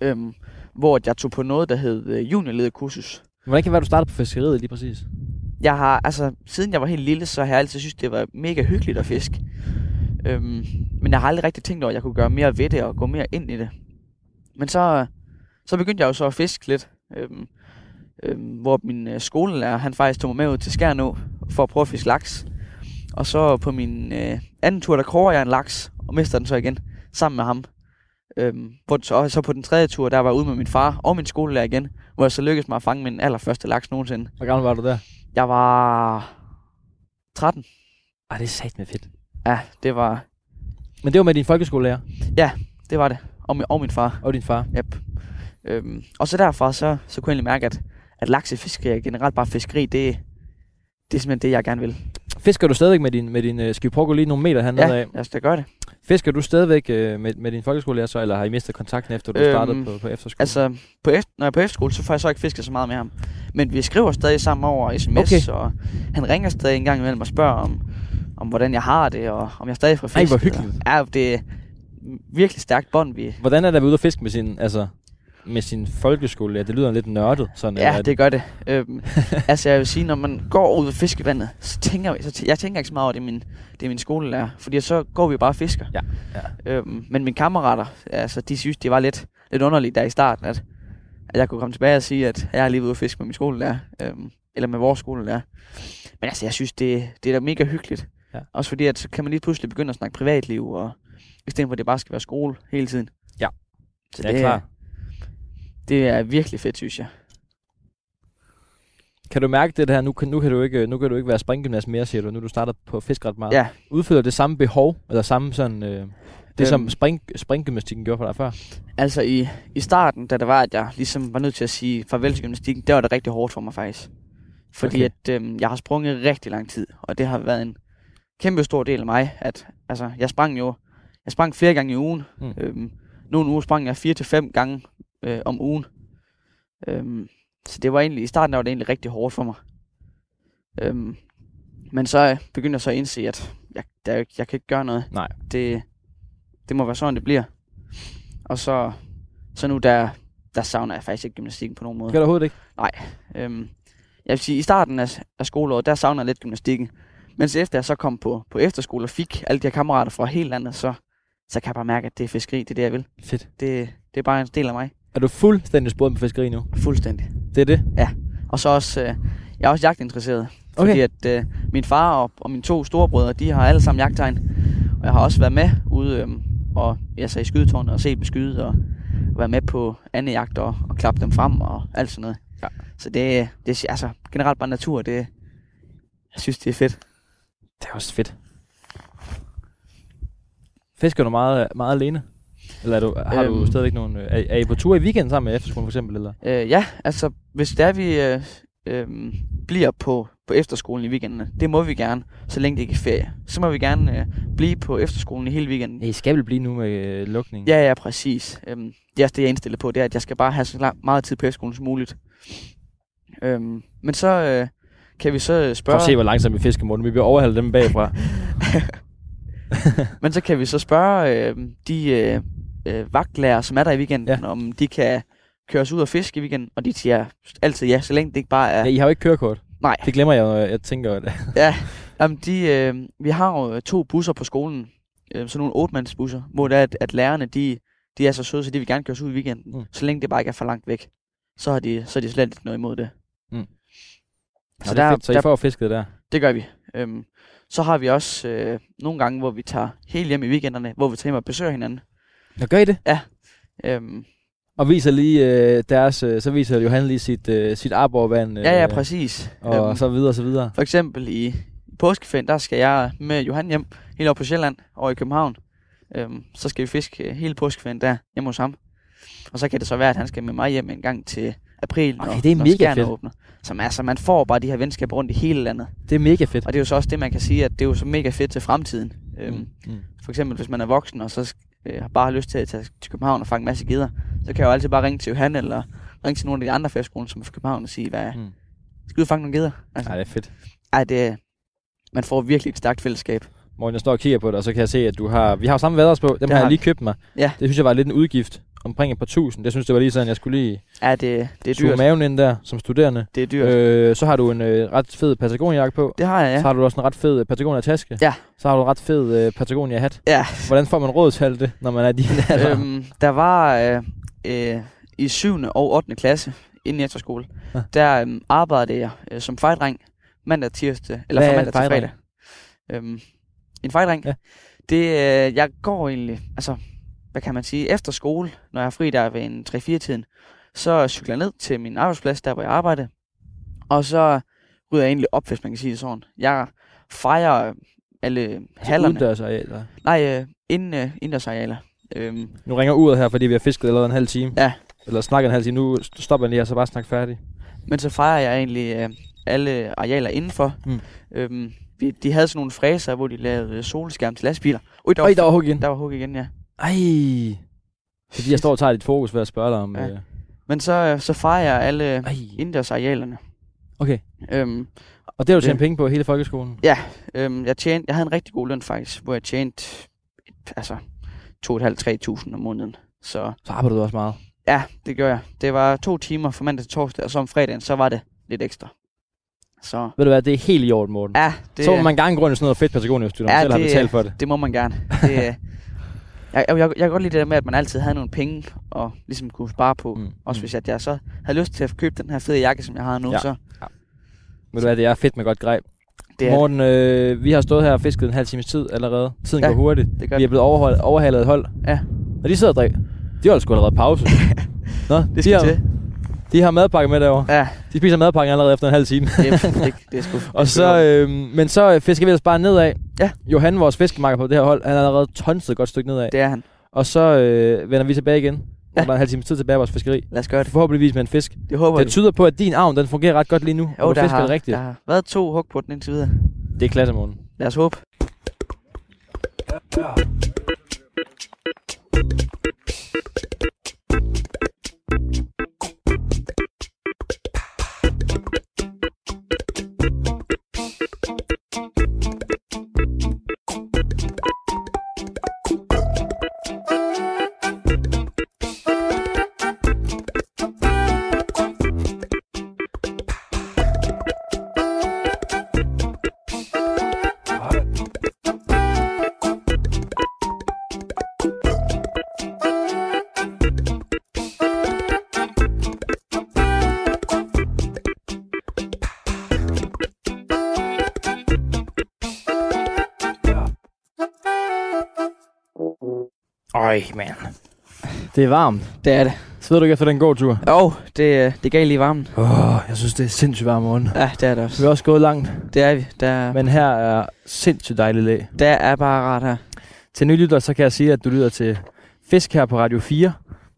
Øhm, hvor at jeg tog på noget, der hed øh, juniorlederkursus.
Hvordan kan det være, du startede på fiskeriet lige præcis?
jeg har, altså, siden jeg var helt lille, så har jeg altid synes det var mega hyggeligt at fiske. Øhm, men jeg har aldrig rigtig tænkt over, at jeg kunne gøre mere ved det og gå mere ind i det. Men så, så begyndte jeg jo så at fiske lidt, øhm, øhm, hvor min øh, skolelærer, han faktisk tog mig med ud til Skærnå for at prøve at fiske laks. Og så på min øh, anden tur, der kroger jeg en laks og mister den så igen sammen med ham. Øhm, hvor, så, og så på den tredje tur, der var jeg ude med min far og min skolelærer igen, hvor jeg så lykkedes mig at fange min allerførste laks nogensinde.
Hvor gammel var du der?
Jeg var 13.
Ej, det er sat med fedt.
Ja, det var
Men det var med din folkeskolelærer
det, var det. Og min, og min far.
og din far.
Yep. Øhm, og så derfra, så, så kunne jeg egentlig mærke, at, at laksefiskeri og generelt bare fiskeri, det, det er simpelthen det, jeg gerne vil.
Fisker du stadigvæk med din, med din øh, skal vi prøve at gå lige nogle meter hernede
Ja,
af?
lad os da gøre det.
Fisker du stadigvæk øh, med, med din folkeskolelærer så, eller har I mistet kontakten efter, du øhm,
Øhm,
startede på, på efterskole?
Altså, på efter, når jeg er på efterskole, så får jeg så ikke fisket så meget med ham. Men vi skriver stadig sammen over sms,
Okay.
og han ringer stadig en gang imellem og spørger om, om hvordan jeg har det, og om jeg stadig får fisk.
Ej, hvor hyggeligt.
Ja, det er virkelig stærkt bånd, vi...
Hvordan er det at være ude og fiske med sin, altså, med sin folkeskolelærer? Det lyder lidt nørdet. Sådan, eller
Ja,
er
det gør det. Øhm, altså jeg vil sige, når man går ud og fisker i vandet, så tænker jeg, så tæ- jeg tænker ikke så meget over, at det er min, det er min skolelærer. Fordi så går vi jo bare og fisker.
Ja,
ja. Øhm, men mine kammerater, altså, de synes, det var lidt, lidt underligt der i starten, at, at jeg kunne komme tilbage og sige, at jeg er lige ude og fiske med min skolelærer. Øhm, eller med vores skolelærer. Men altså, jeg synes, det, det er da mega hyggeligt.
Ja.
Også fordi, at så kan man lige pludselig begynde at snakke privatliv, og i stedet for, at det bare skal være skole hele tiden.
Ja.
Så
Jeg er klar.
det er virkelig fedt, synes jeg.
Kan du mærke det her? Nu kan, nu kan, du, ikke, nu kan du ikke være springgymnast mere, siger du. Nu er du starter på fisk ret meget.
Ja.
Udfylder det samme behov, eller samme sådan... Øh, det, som
Øhm.
spring, springgymnastikken gjorde for dig før.
Altså i, i starten, da det var, at jeg ligesom var nødt til at sige farvel til gymnastikken, der var det rigtig hårdt for mig faktisk. Fordi
Okay.
okay. at øhm, jeg har sprunget rigtig lang tid, og det har været en kæmpe stor del af mig. At, altså, jeg sprang jo jeg sprang flere gange i ugen.
Mm.
Mm. Øhm, nogle uger sprang jeg fire til fem gange øh, om ugen. Øhm, så det var egentlig, i starten der var det egentlig rigtig hårdt for mig. Øhm, men så øh, begyndte jeg så at indse, at jeg, der, er jo ikke- jeg kan ikke gøre noget.
Nej.
Det, det må være sådan, det bliver. Og så, så nu, der, der savner jeg faktisk ikke gymnastikken på nogen
Det
måde.
gør du overhovedet ikke.
Øhm, jeg vil sige, i starten af, af skoleåret, der savner jeg lidt gymnastikken. Mens efter jeg så kom på, på efterskole og fik alle de her kammerater fra hele landet, så, så kan jeg bare mærke, at det er fiskeri, det er det, jeg vil.
Fedt.
Det, det er bare en del af mig.
Er du fuldstændig sporet på fiskeri nu?
Fuldstændig.
Det er det?
Og så også, øh, jeg er også jagtinteresseret.
Okay.
Fordi at øh, min far og, og mine to storebrødre, de har alle sammen jagttegn. Og jeg har også været med ude øh, og, altså, i skydetårnet og set dem skyde og været med på andre jagt og, og klappe dem frem og alt sådan noget.
Ja.
Så det, det er altså generelt bare natur, det, jeg synes, det er fedt.
Det er også fedt. Fisker du meget, meget alene? Eller er du, har øhm. du
Øhm.
stadigvæk nogen... øh, Er, er I på tur i weekenden sammen med efterskolen for eksempel? Eller?
Øh, ja, altså hvis det er, vi øh, øh, bliver på, på efterskolen i weekenden, det må vi gerne, så længe det ikke er ferie. Så må vi gerne øh, blive på efterskolen i hele weekenden.
I skal vel blive nu med øh, lukningen?
Ja, ja, præcis. Øhm, det er også det, jeg er indstillet på, det er, at jeg skal bare have så lang- meget tid på efterskolen som muligt. Øhm, men så øh, kan vi så øh,
Prøv at se,
spørge,
hvor langsomt vi fisker, Morten. Vi bliver overhalet dem bagfra.
men så kan vi så spørge øh, de øh, øh, vagtlærer, som er der i weekenden, ja. om de kan køre os ud og fiske i weekenden, og de siger altid ja, så længe det ikke bare er...
ja. I har jo ikke kørekort.
Nej.
Det glemmer jeg, når jeg tænker over det.
Jamen, de, øh, vi har jo øh, to busser på skolen, øh, sådan nogle otmandsbusser, hvor det er, at, at lærerne, de, de er så søde, så de vil gerne køre os ud i weekenden,
Mm.
mm. så længe det bare ikke er for langt væk. Så har de, så er de slet ikke noget imod det.
Så,
Så
der,
der-
fedt, så I
der-
får fisket der.
Det gør vi. Øhm, så har vi også øh, nogle gange, hvor vi tager helt hjem i weekenderne, hvor vi tager hjem og besøger hinanden.
Nå, gør I det?
Øhm,
Og viser lige øh, deres, øh, så viser Johan lige sit, øh, sit arborvand. Øh,
ja, ja, præcis.
Og
Øhm,
så videre, så videre.
For eksempel i påskeferien, der skal jeg med Johan hjem helt over på Sjælland og i København. Øhm, så skal vi fiske øh, hele påskeferien der hjemme hos ham. Og så kan det så være, at han skal med mig hjem en gang til april, når,
Okay, det er
når
mega
Skjern
fedt.
åbner. Så man, altså, man får bare de her venskaber rundt i hele landet.
Det er mega fedt.
Og det er jo så også det, man kan sige, at det er jo så mega fedt til fremtiden. Øhm, mm.
Mm.
For eksempel, hvis man er voksen, og så sk- øh, har bare har lyst til at tage til København og fange en masse gider, så kan jeg jo altid bare ringe til Johan, eller ringe til nogle af de andre færdsskolen, som er fra København, og sige, hvad,
Mm.
mm. skal vi ud og fange nogle gider? Altså,
Nej, det er fedt.
ej, det, man får virkelig et stærkt fællesskab.
Morgen, jeg står og kigger på dig, og så kan jeg se, at du har... Vi har jo samme vaders på. Dem har
har
jeg
vi.
lige købt mig.
Ja.
Det synes jeg var lidt en udgift. Omkring et par tusind. Jeg synes, det var lige sådan, jeg skulle lige
Ja, det, det er
suge
dyrt.
maven ind der som studerende.
Det er dyrt. Øh.
Øh, så har du en øh, ret fed Patagonia-jakke på.
Det har jeg,
Ja.
ja.
Så har du også en ret fed øh, Patagonia-taske.
Ja.
Så har du en ret fed øh, Patagonia-hat.
Ja.
Hvordan får man råd til alt det, når man er din alder?
øhm, der var øh, øh, i 7. og 8. klasse, inden i efterskole,
Ja.
der øhm, arbejdede jeg øh, som fejdreng mandag, tirsdag, eller
Hvad
fra
er
mandag til
fejdreng?
fredag. Øhm, en fejdreng?
Ja.
Det, øh, jeg går egentlig, altså, hvad kan man sige, efter skole, når jeg er fri der ved en 3-4-tiden, så cykler jeg ned til min arbejdsplads, der hvor jeg arbejder, og så rydder jeg egentlig op, hvis man kan sige det sådan. Jeg fejrer øh, alle hallerne.
Udendørsarealer.
Nej, øh, inden, øh, indendørsarealer. Øhm,
Nu ringer uret her, fordi vi har fisket allerede en halv time.
Ja.
Eller snakket en halv time. Nu st- stopper jeg lige, og så bare snak færdig.
men så fejrer jeg egentlig øh, alle arealer indenfor.
Mm.
Mm. Øhm, vi, de havde sådan nogle fræser, hvor de lavede øh, solskærm til lastbiler. Ui, der var,
Øj, der var hug igen.
der var hug igen, ja.
Ej. Fordi jeg står og tager dit fokus ved at spørge dig om...
Ja.
Øh,
Men så, øh, så fejrer jeg alle
ej.
indendørsarealerne.
Okay.
Øhm,
Og det har du tjent
Det-
penge på hele folkeskolen?
øhm, jeg, tjente, jeg havde en rigtig god løn faktisk, hvor jeg tjente et- altså 2.500-3.000 om måneden. Så
Så arbejder du også meget.
ja, det gør jeg. Det var to timer fra mandag til torsdag, og så om fredagen, så var det lidt ekstra. Så
Ved du hvad, det er helt i orden, Morten.
ja, det,
Det... Så må man gerne grund i sådan noget fedt Patagonia, hvis du
Ja,
ja, selv har
det-
betalt for det.
Det må man gerne. Det, jeg, jeg, jeg, jeg kan godt lide det der med, at man altid havde nogle penge, og ligesom kunne spare på. Mm.
Mm.
Også hvis at jeg så havde lyst til at købe den her fede jakke, som jeg har nu,
Ja.
ja. så
Ved du hvad, det er fedt med godt greb.
det, er,
Morten, øh, vi har stået her og fisket en halv times tid allerede. Tiden ja.
Ja.
går hurtigt.
det gør
Vi er blevet overholdt, overhalet af et hold.
Ja.
Og de sidder og drikker. De holder sgu allerede pause. Nå,
det
de,
skal
har,
til.
de har madpakke med derovre.
Ja,
De spiser madpakken allerede efter en halv time.
det, er- det, det er sgu.
Og så, øh, men så øh, fisker vi ellers bare nedad.
Ja.
Johan, vores fiskemarker på det her hold, han er allerede tonset et godt stykke nedad.
Det er han.
Og så øh, vender vi tilbage igen. Ja.
Ja.
Og der er en halv time tid tilbage af vores fiskeri.
Lad os gøre det.
Forhåbentligvis med en fisk.
Det håber
Det
vi.
tyder på, at din arm den fungerer ret godt lige nu. og
Jo,
du
der
fisker
har,
rigtigt.
der har været to hug på den indtil videre.
Det er klasse, morgen.
Lad os håbe.
Øj, man. Det er varmt.
Det er det.
Sveder du ikke efter den god tur?
Jo, det, øh, det gav lige varmen.
Åh, oh, jeg synes, det er sindssygt varmt morgen.
Ja, det er det
Vi er
også.
også gået langt,
Det er vi. Der,
men her er sindssygt dejligt læg.
der er bare rart her.
Til nylytter, så kan jeg sige, at du lytter til Fisk her på Radio 4.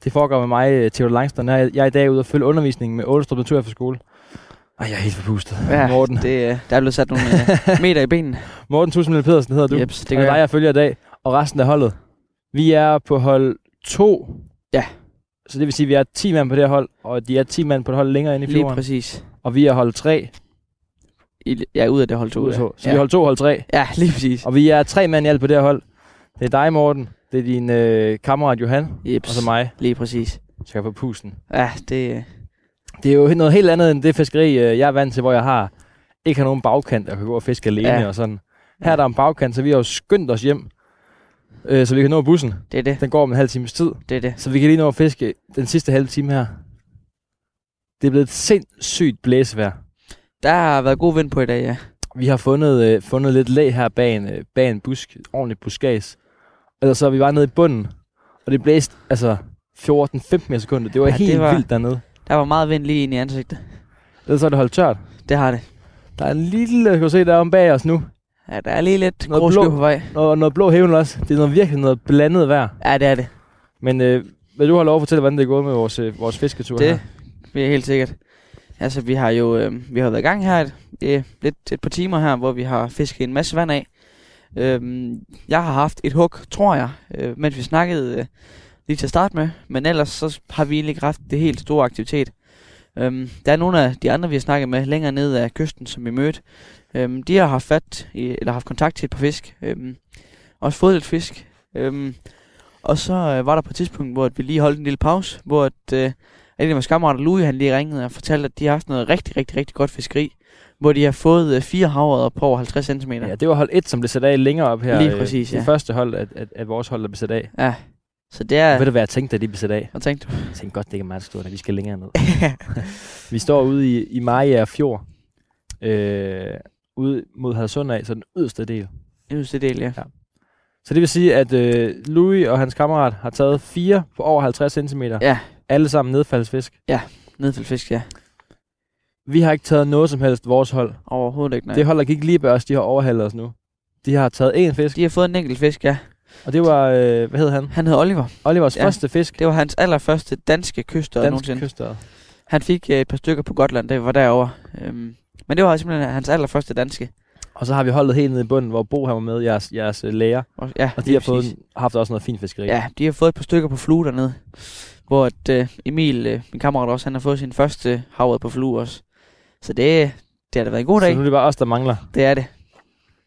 Det foregår med mig, Theo Langstrøm. Jeg jeg er i dag ude og følge undervisningen med Ålestrup Naturefterskole. Ej, jeg er helt forpustet.
Ja,
Morten.
Det, øh, der er blevet sat nogle øh, meter i benene.
Morten Tusind Pedersen hedder du.
Jeps, det
det
gør
er dig,
jeg.
jeg følger i dag, og resten af holdet. Vi er på hold 2.
Ja.
Så det vil sige, at vi er 10 mand på det her hold, og de er 10 mand på et hold længere inde i
Lige
fjorden.
præcis.
Og vi er hold 3.
I, ja, ud af det holdt
Så
ud.
vi
ja.
er hold 2 hold 3.
ja, lige præcis.
Og vi er tre mand i alt på det her hold. Det er dig, Morten. Det er din øh, kammerat Johan.
Jeps.
Og så mig.
Lige præcis.
Så jeg på pusten.
Ja, det, øh,
Det er jo noget helt andet end det fiskeri, øh, jeg er vant til, hvor jeg har ikke har nogen bagkant, og kan gå og fiske alene ja.
Ja.
og sådan. Her er der en bagkant, så vi har jo skyndt os hjem, øh, så vi kan nå bussen.
det er det.
Den går om en halv times tid,
Det er det.
så vi kan lige nå at fiske den sidste halve time her. Det er blevet et sindssygt blæsevejr.
Der har været god vind på i dag, ja.
Vi har fundet, øh, fundet lidt læ her bag en, øh, bag en busk, ordentligt buskads. Ellers så er vi bare nede i bunden, og det blæste altså 14-15 mere sekunder. Det var ja,
Ja, det
helt det var...
var-
vildt dernede.
Der var meget vind lige ind i ansigtet.
Ellers så er det holdt tørt.
Det har det.
Der er en lille, kan du se, der er om bag os nu.
Ja, der er lige lidt
Noget
grå
blå.
sky på vej.
Og noget blå hævn også. Det er noget virkelig noget blandet vejr.
Ja, det er det.
Men øh, vil du have lov at fortælle, hvordan det er gået med vores, øh, vores fisketur
Det
her?
Vi er helt sikkert. Altså, vi har jo øh, vi har været i gang her et, øh, lidt, et par timer her, hvor vi har fisket en masse vand af. Øh, jeg har haft et hug, tror jeg, øh, mens vi snakkede øh, lige til at starte med. Men ellers så har vi egentlig ikke haft det helt store aktivitet. Øhm, der er nogle af de andre, vi har snakket med længere ned ad kysten, som vi mødte. Øhm, de har haft fat i, eller haft kontakt til et par fisk. Øhm, også fået lidt fisk. Øhm, og så øh, var der på et tidspunkt, hvor at vi lige holdt en lille pause, hvor at, øh, en af vores kammerater, Louis, han lige ringede og fortalte, at de har haft noget rigtig, rigtig, rigtig godt fiskeri, hvor de har fået øh, fire havredder på over 50 cm.
Ja, det var hold 1, som blev sat af længere op her.
Lige
øh,
præcis,
Det
ja.
første hold, at, at, at vores hold er besat af.
Ja, så det er...
Ved du, hvad jeg tænkte, da de blev sat af?
Hvad tænkte du?
Jeg tænkte godt, det ikke er meget stort, at vi skal længere ned. vi står ude i, i Maja Fjord, øh, ude mod Hadsund af, så den yderste del.
Jeg synes, det er del, ja.
Så det vil sige, at øh, Louis og hans kammerat har taget fire på over 50 cm.
Ja.
Alle sammen nedfaldsfisk.
Nedfældfisk, ja.
Vi har ikke taget noget som helst vores hold. Nej.
Overhovedet ikke, nej.
Det hold, der gik lige bag os, de har overhalet os nu. De har taget én fisk,
De har fået en enkelt fisk, ja.
og det var, øh, hvad hed han?
Han hed Oliver.
Olivers ja.
Ja.
første fisk.
Det var hans allerførste danske kyster danske
Dansk
nogensinde.
kyster.
Han fik øh, et par stykker på Gotland, da vi var derovre. Øhm, men det var simpelthen hans allerførste danske.
Og så har vi holdet helt nede i bunden, hvor Bo han var med, jeres, jeres øh, læger.
Og, ja,
Og de
lige
har fået,
præcis.
haft også noget fint fiskeri.
Ja, de har fået et par stykker på flue dernede. Hvor at, øh, Emil, øh, min kammerat også, han har fået sin første havret på flue også. Så det, det har da været en god dag.
Så nu er det bare os, der mangler.
Det er det.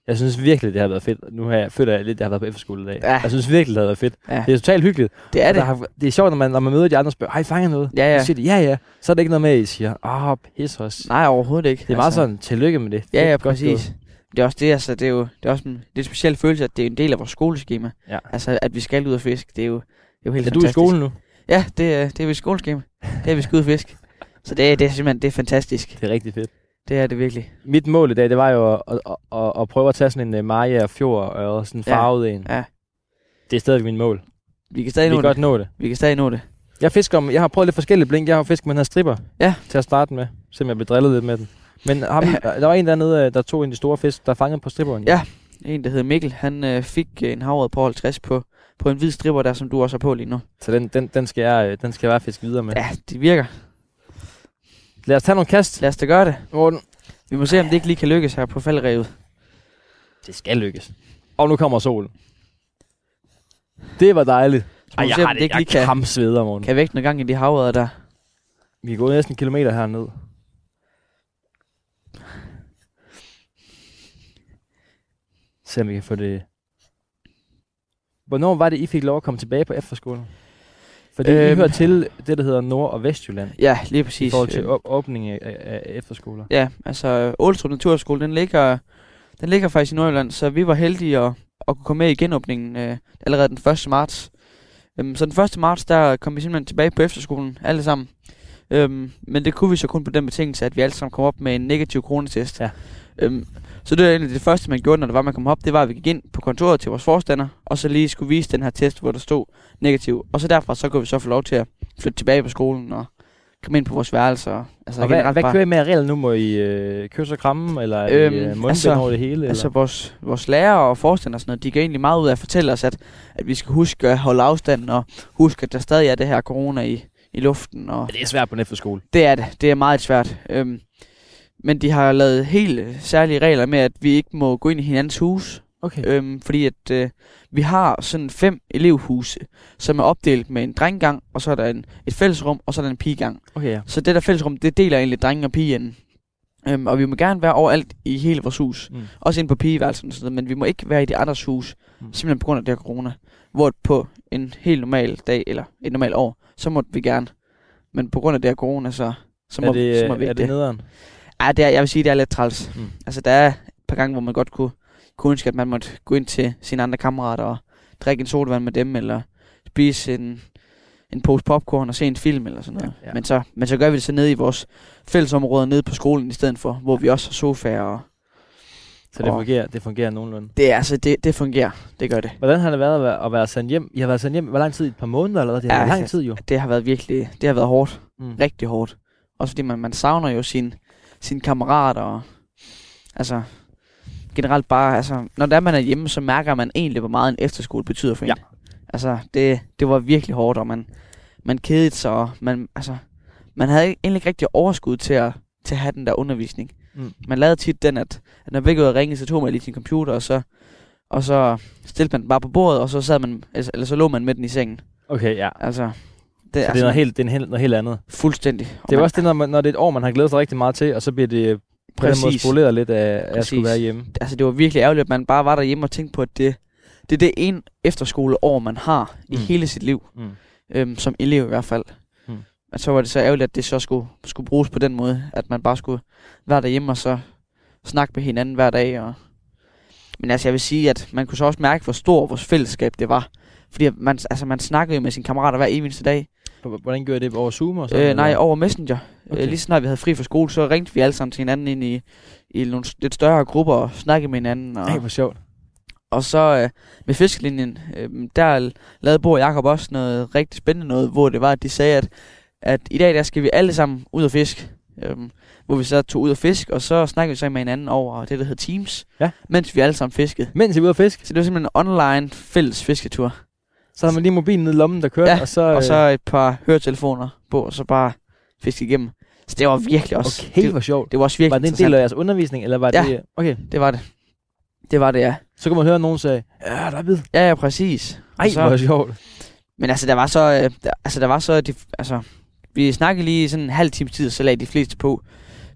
Jeg synes virkelig, det har været fedt. Nu har jeg følt jeg lidt, jeg har været på efterskole i dag.
Ja.
Jeg synes virkelig, det har været fedt.
Ja.
Det er totalt hyggeligt.
Det er
Og
det.
der Har, det er sjovt, når man, når man møder de andre og spørger, har I fanget noget?
Ja, ja.
Så siger de, ja, ja. Så er det ikke noget med, at I siger, åh, oh, pis os. Det
Nej, overhovedet ikke. Altså.
er meget sådan, tillykke med det. Det
Ja,
er
ja,
godt gået.
præcis. Det er også det, altså, det er jo det er også en lidt speciel følelse, at det er en del af vores skoleskema.
Ja.
Altså, at vi skal ud og fiske, det er jo, det er jo helt
Er du i
fantastisk.
skolen nu?
Ja, det, er- det er vi skoleskema. Det er vi skal ud og fiske. Så det, er- det er simpelthen det er fantastisk.
Det er rigtig fedt.
Det er det virkelig.
Mit mål i dag, det var jo at, at, at, at prøve at tage sådan en uh, Maja Fjord og sådan en
Ja.
farvet en.
Ja.
Det er stadigvæk mit mål.
Vi kan
Vi
stadig nå
kan
det.
godt nå det.
Vi kan stadig nå det.
Jeg, fisker, om- jeg har prøvet lidt forskellige blink. Jeg har fisket med den her stripper
Ja.
til at starte med, selvom jeg blev drillet lidt med den. Men ham, der var en dernede, øh, der tog en af de store fisk, der fangede på stripperen.
Ja. En, der hedder Mikkel, han øh, fik øh, en havred på 50 på, på en hvid stripper der, som du også har på lige nu.
Så den, den, den, skal jeg, øh, den skal jeg bare fiske videre med.
Ja, det virker.
Lad os tage nogle kast.
Lad os da gøre det.
Morten.
Vi må se, om det ikke lige kan lykkes her på faldrevet.
Det skal lykkes. Og nu kommer solen. Det var dejligt.
Så må vi se, om det ikke lige kan,
kampsveder, Morten.
kan vække noget gang i de havredder der.
Vi kan gå næsten en kilometer herned. Se om vi kan få det... Hvornår var det, I fik lov at komme tilbage på efterskolen? Fordi øhm. I
Øhm.
hører til det, der hedder Nord- og Vestjylland.
Ja, lige
I
præcis.
forhold til
Øh,
op- åbningen af, af efterskoler.
Ja, altså Ålstrup Naturskole, den ligger, den ligger faktisk i Nordjylland, så vi var heldige at, at kunne komme med i genåbningen øh, allerede den 1. marts. Øhm, så den 1. marts, der kom vi simpelthen tilbage på efterskolen, alle sammen. Øhm, men det kunne vi så kun på den betingelse, at vi alle sammen kom op med en negativ coronatest.
Ja.
Øhm, så det var egentlig det første, man gjorde, når det var, man kom op, det var, at vi gik ind på kontoret til vores forstander, og så lige skulle vise den her test, hvor der stod negativ. Og så derfra, så kunne vi så få lov til at flytte tilbage på skolen og komme ind på vores værelser. og- Altså,
og hvad,
generelt
hvad
bare-
kører I med af regler nu? Må I øh, kysse og kramme, eller er
Øhm,
I øh, mundbind
altså-
over det hele?
Altså vores, vores lærere og forstander og sådan noget, de gør egentlig meget ud af at fortælle os, at, at vi skal huske at holde afstanden, og huske, at der stadig er det her corona i, i luften. Og
eller? Det er svært på en efterskole.
det er det. Det er meget svært. Øhm, men de har lavet helt øh, særlige regler med, at vi ikke må gå ind i hinandens hus,
Okay.
øhm, fordi at øh, vi har sådan fem elevhuse, som er opdelt med en drenggang, og så er der en, et fællesrum, og så er der en pigegang.
Okay, ja.
Så det der fællesrum, det deler egentlig drenge og pigen. Øhm, og vi må gerne være overalt i hele vores hus.
Mm.
Også inde på pigeværelsen og sådan noget, men vi må ikke være i de andres hus,
Mm.
mm. simpelthen på grund af det her corona. Hvor på en helt normal dag, eller et normalt år, så måtte vi gerne. Men på grund af det her corona, så, så,
er
må,
det, øh,
så må vi
er det
ikke det.
nederen?
Ej, det er, jeg vil sige, det er lidt træls.
Mm.
Mm. Altså, der er et par gange, hvor man godt kunne, kunne ønske, at man måtte gå ind til sine andre kammerater og drikke en sodavand med dem, eller spise en, en pose popcorn og se en film eller sådan noget.
Ja.
Ja. Men, så, men så gør vi det så nede i vores fællesområder nede på skolen i stedet for, hvor vi også har sofaer. Og
Så det
Åh.
fungerer, det fungerer nogenlunde.
det, er altså, det, det fungerer. Det gør det.
Hvordan har det været at være, at være sendt hjem? I har været sendt hjem, hvor lang tid? Et par måneder eller hvad? Det har
Ja,
været lang
altså-
tid jo.
Det har været virkelig, det har været hårdt.
Mm.
Rigtig hårdt. Også fordi man, man savner jo sin, sine kammerater og altså generelt bare, altså når der man er hjemme, så mærker man egentlig, hvor meget en efterskole betyder for en.
Ja.
Altså det, det var virkelig hårdt, og man, man kedede sig, og man, altså, man havde ikke- egentlig ikke rigtig overskud til at, til at have den der undervisning.
Mm.
Man lavede tit den, at, at når væk ud og ringe, så tog man lige sin computer, og så, og så stillede man den bare på bordet, og så sad man, altså, eller så lå man med den i sengen.
Okay, ja.
Altså, det, altså-
Så det er noget helt, det er en hel- noget helt andet.
Fuldstændig. Og
Det er
man-
også det, når, man, når det er et år, man har glædet sig rigtig meget til, og så bliver det på den måde
Præcis.
spoleret lidt af, at jeg skulle
Præcis.
være hjemme.
altså, det var virkelig ærgerligt, at man bare var derhjemme og tænkte på, at det, det er det ene efterskoleår, man har mm. i
Mm.
hele sit liv,
Mm.
øhm, som elev i hvert fald.
Mm.
Mm. Og så var det så ærgerligt, at det så skulle, skulle bruges på den måde, at man bare skulle være derhjemme og så snakke med hinanden hver dag. Og... Men altså, jeg vil sige, at man kunne så også mærke, hvor stor vores fællesskab det var. Fordi at man, altså, man snakkede jo med sine kammerater hver eneste dag.
H- Hvordan gør I det over Zoom og sådan
Øh, nej,
eller?
over Messenger.
Okay.
Okay. Øh, lige så snart vi havde fri fra skole, så ringte vi alle sammen til hinanden ind i, i nogle s- lidt større grupper og snakkede med hinanden. Og,
Nej, hvor sjovt.
og så øh, med fiskelinjen, øh, der l- lavede Bo og Jacob også noget rigtig spændende noget, hvor det var, at de sagde, at, at i dag der skal vi alle sammen ud og fisk. Øh, hvor vi så tog ud og fisk, og så snakkede vi så med hinanden over det, der hedder Teams,
Ja.
mens vi alle sammen fiskede.
Mens I er ude at fisk,
Så det var simpelthen en online fælles fisketur.
så har man lige mobilen nede i lommen, der kører,
Ja,
og så...
Og så
øh,
et par høretelefoner på, og så bare fiske igennem. Så det var virkelig også...
øh, okay,
det,
hvor sjovt.
det var også virkelig
Var det en
interessant.
del af jeres undervisning, eller var
Ja.
det... Okay,
Det var det. Det var det, ja.
så kunne man høre nogen sige, ja, der er bid.
Ja, ja, præcis.
Ej,
Og så,
hvor sjovt.
Men altså, der var så... Øh, der, altså, der var så... De, altså, vi snakkede lige sådan en halv times tid, så lagde de fleste på.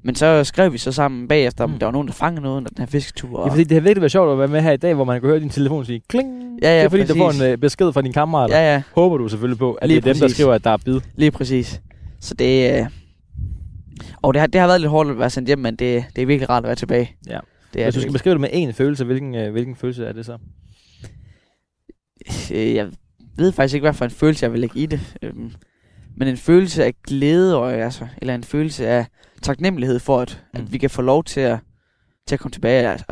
Men så skrev vi så sammen bagefter, om
Mm.
der var nogen, der fangede noget under den her fisketur.
Ja,
Og,
fordi det har virkelig været sjovt at være med her i dag, hvor man kan høre din telefon sige kling.
Ja, ja,
det er fordi, du får
præcis.
en øh, besked fra din kammerat. Ja.
ja, ja,
Håber du selvfølgelig på, at
Lige
det er dem, der
præcis.
skriver, at der er bid.
lige præcis. Så det... Øh, og det har, det har været lidt hårdt at være sendt hjem, men det, det er virkelig rart at være tilbage.
Ja.
Det
Hvis
er det
du skal
virkelig.
beskrive det med én følelse, hvilken, øh, hvilken følelse er det så?
Øh, jeg ved faktisk ikke, hvad for en følelse jeg vil lægge i det. Øhm, men en følelse af glæde, og, altså, eller en følelse af taknemmelighed for, at, mm.
Mm.
at vi kan få lov til at, til at komme tilbage. Altså,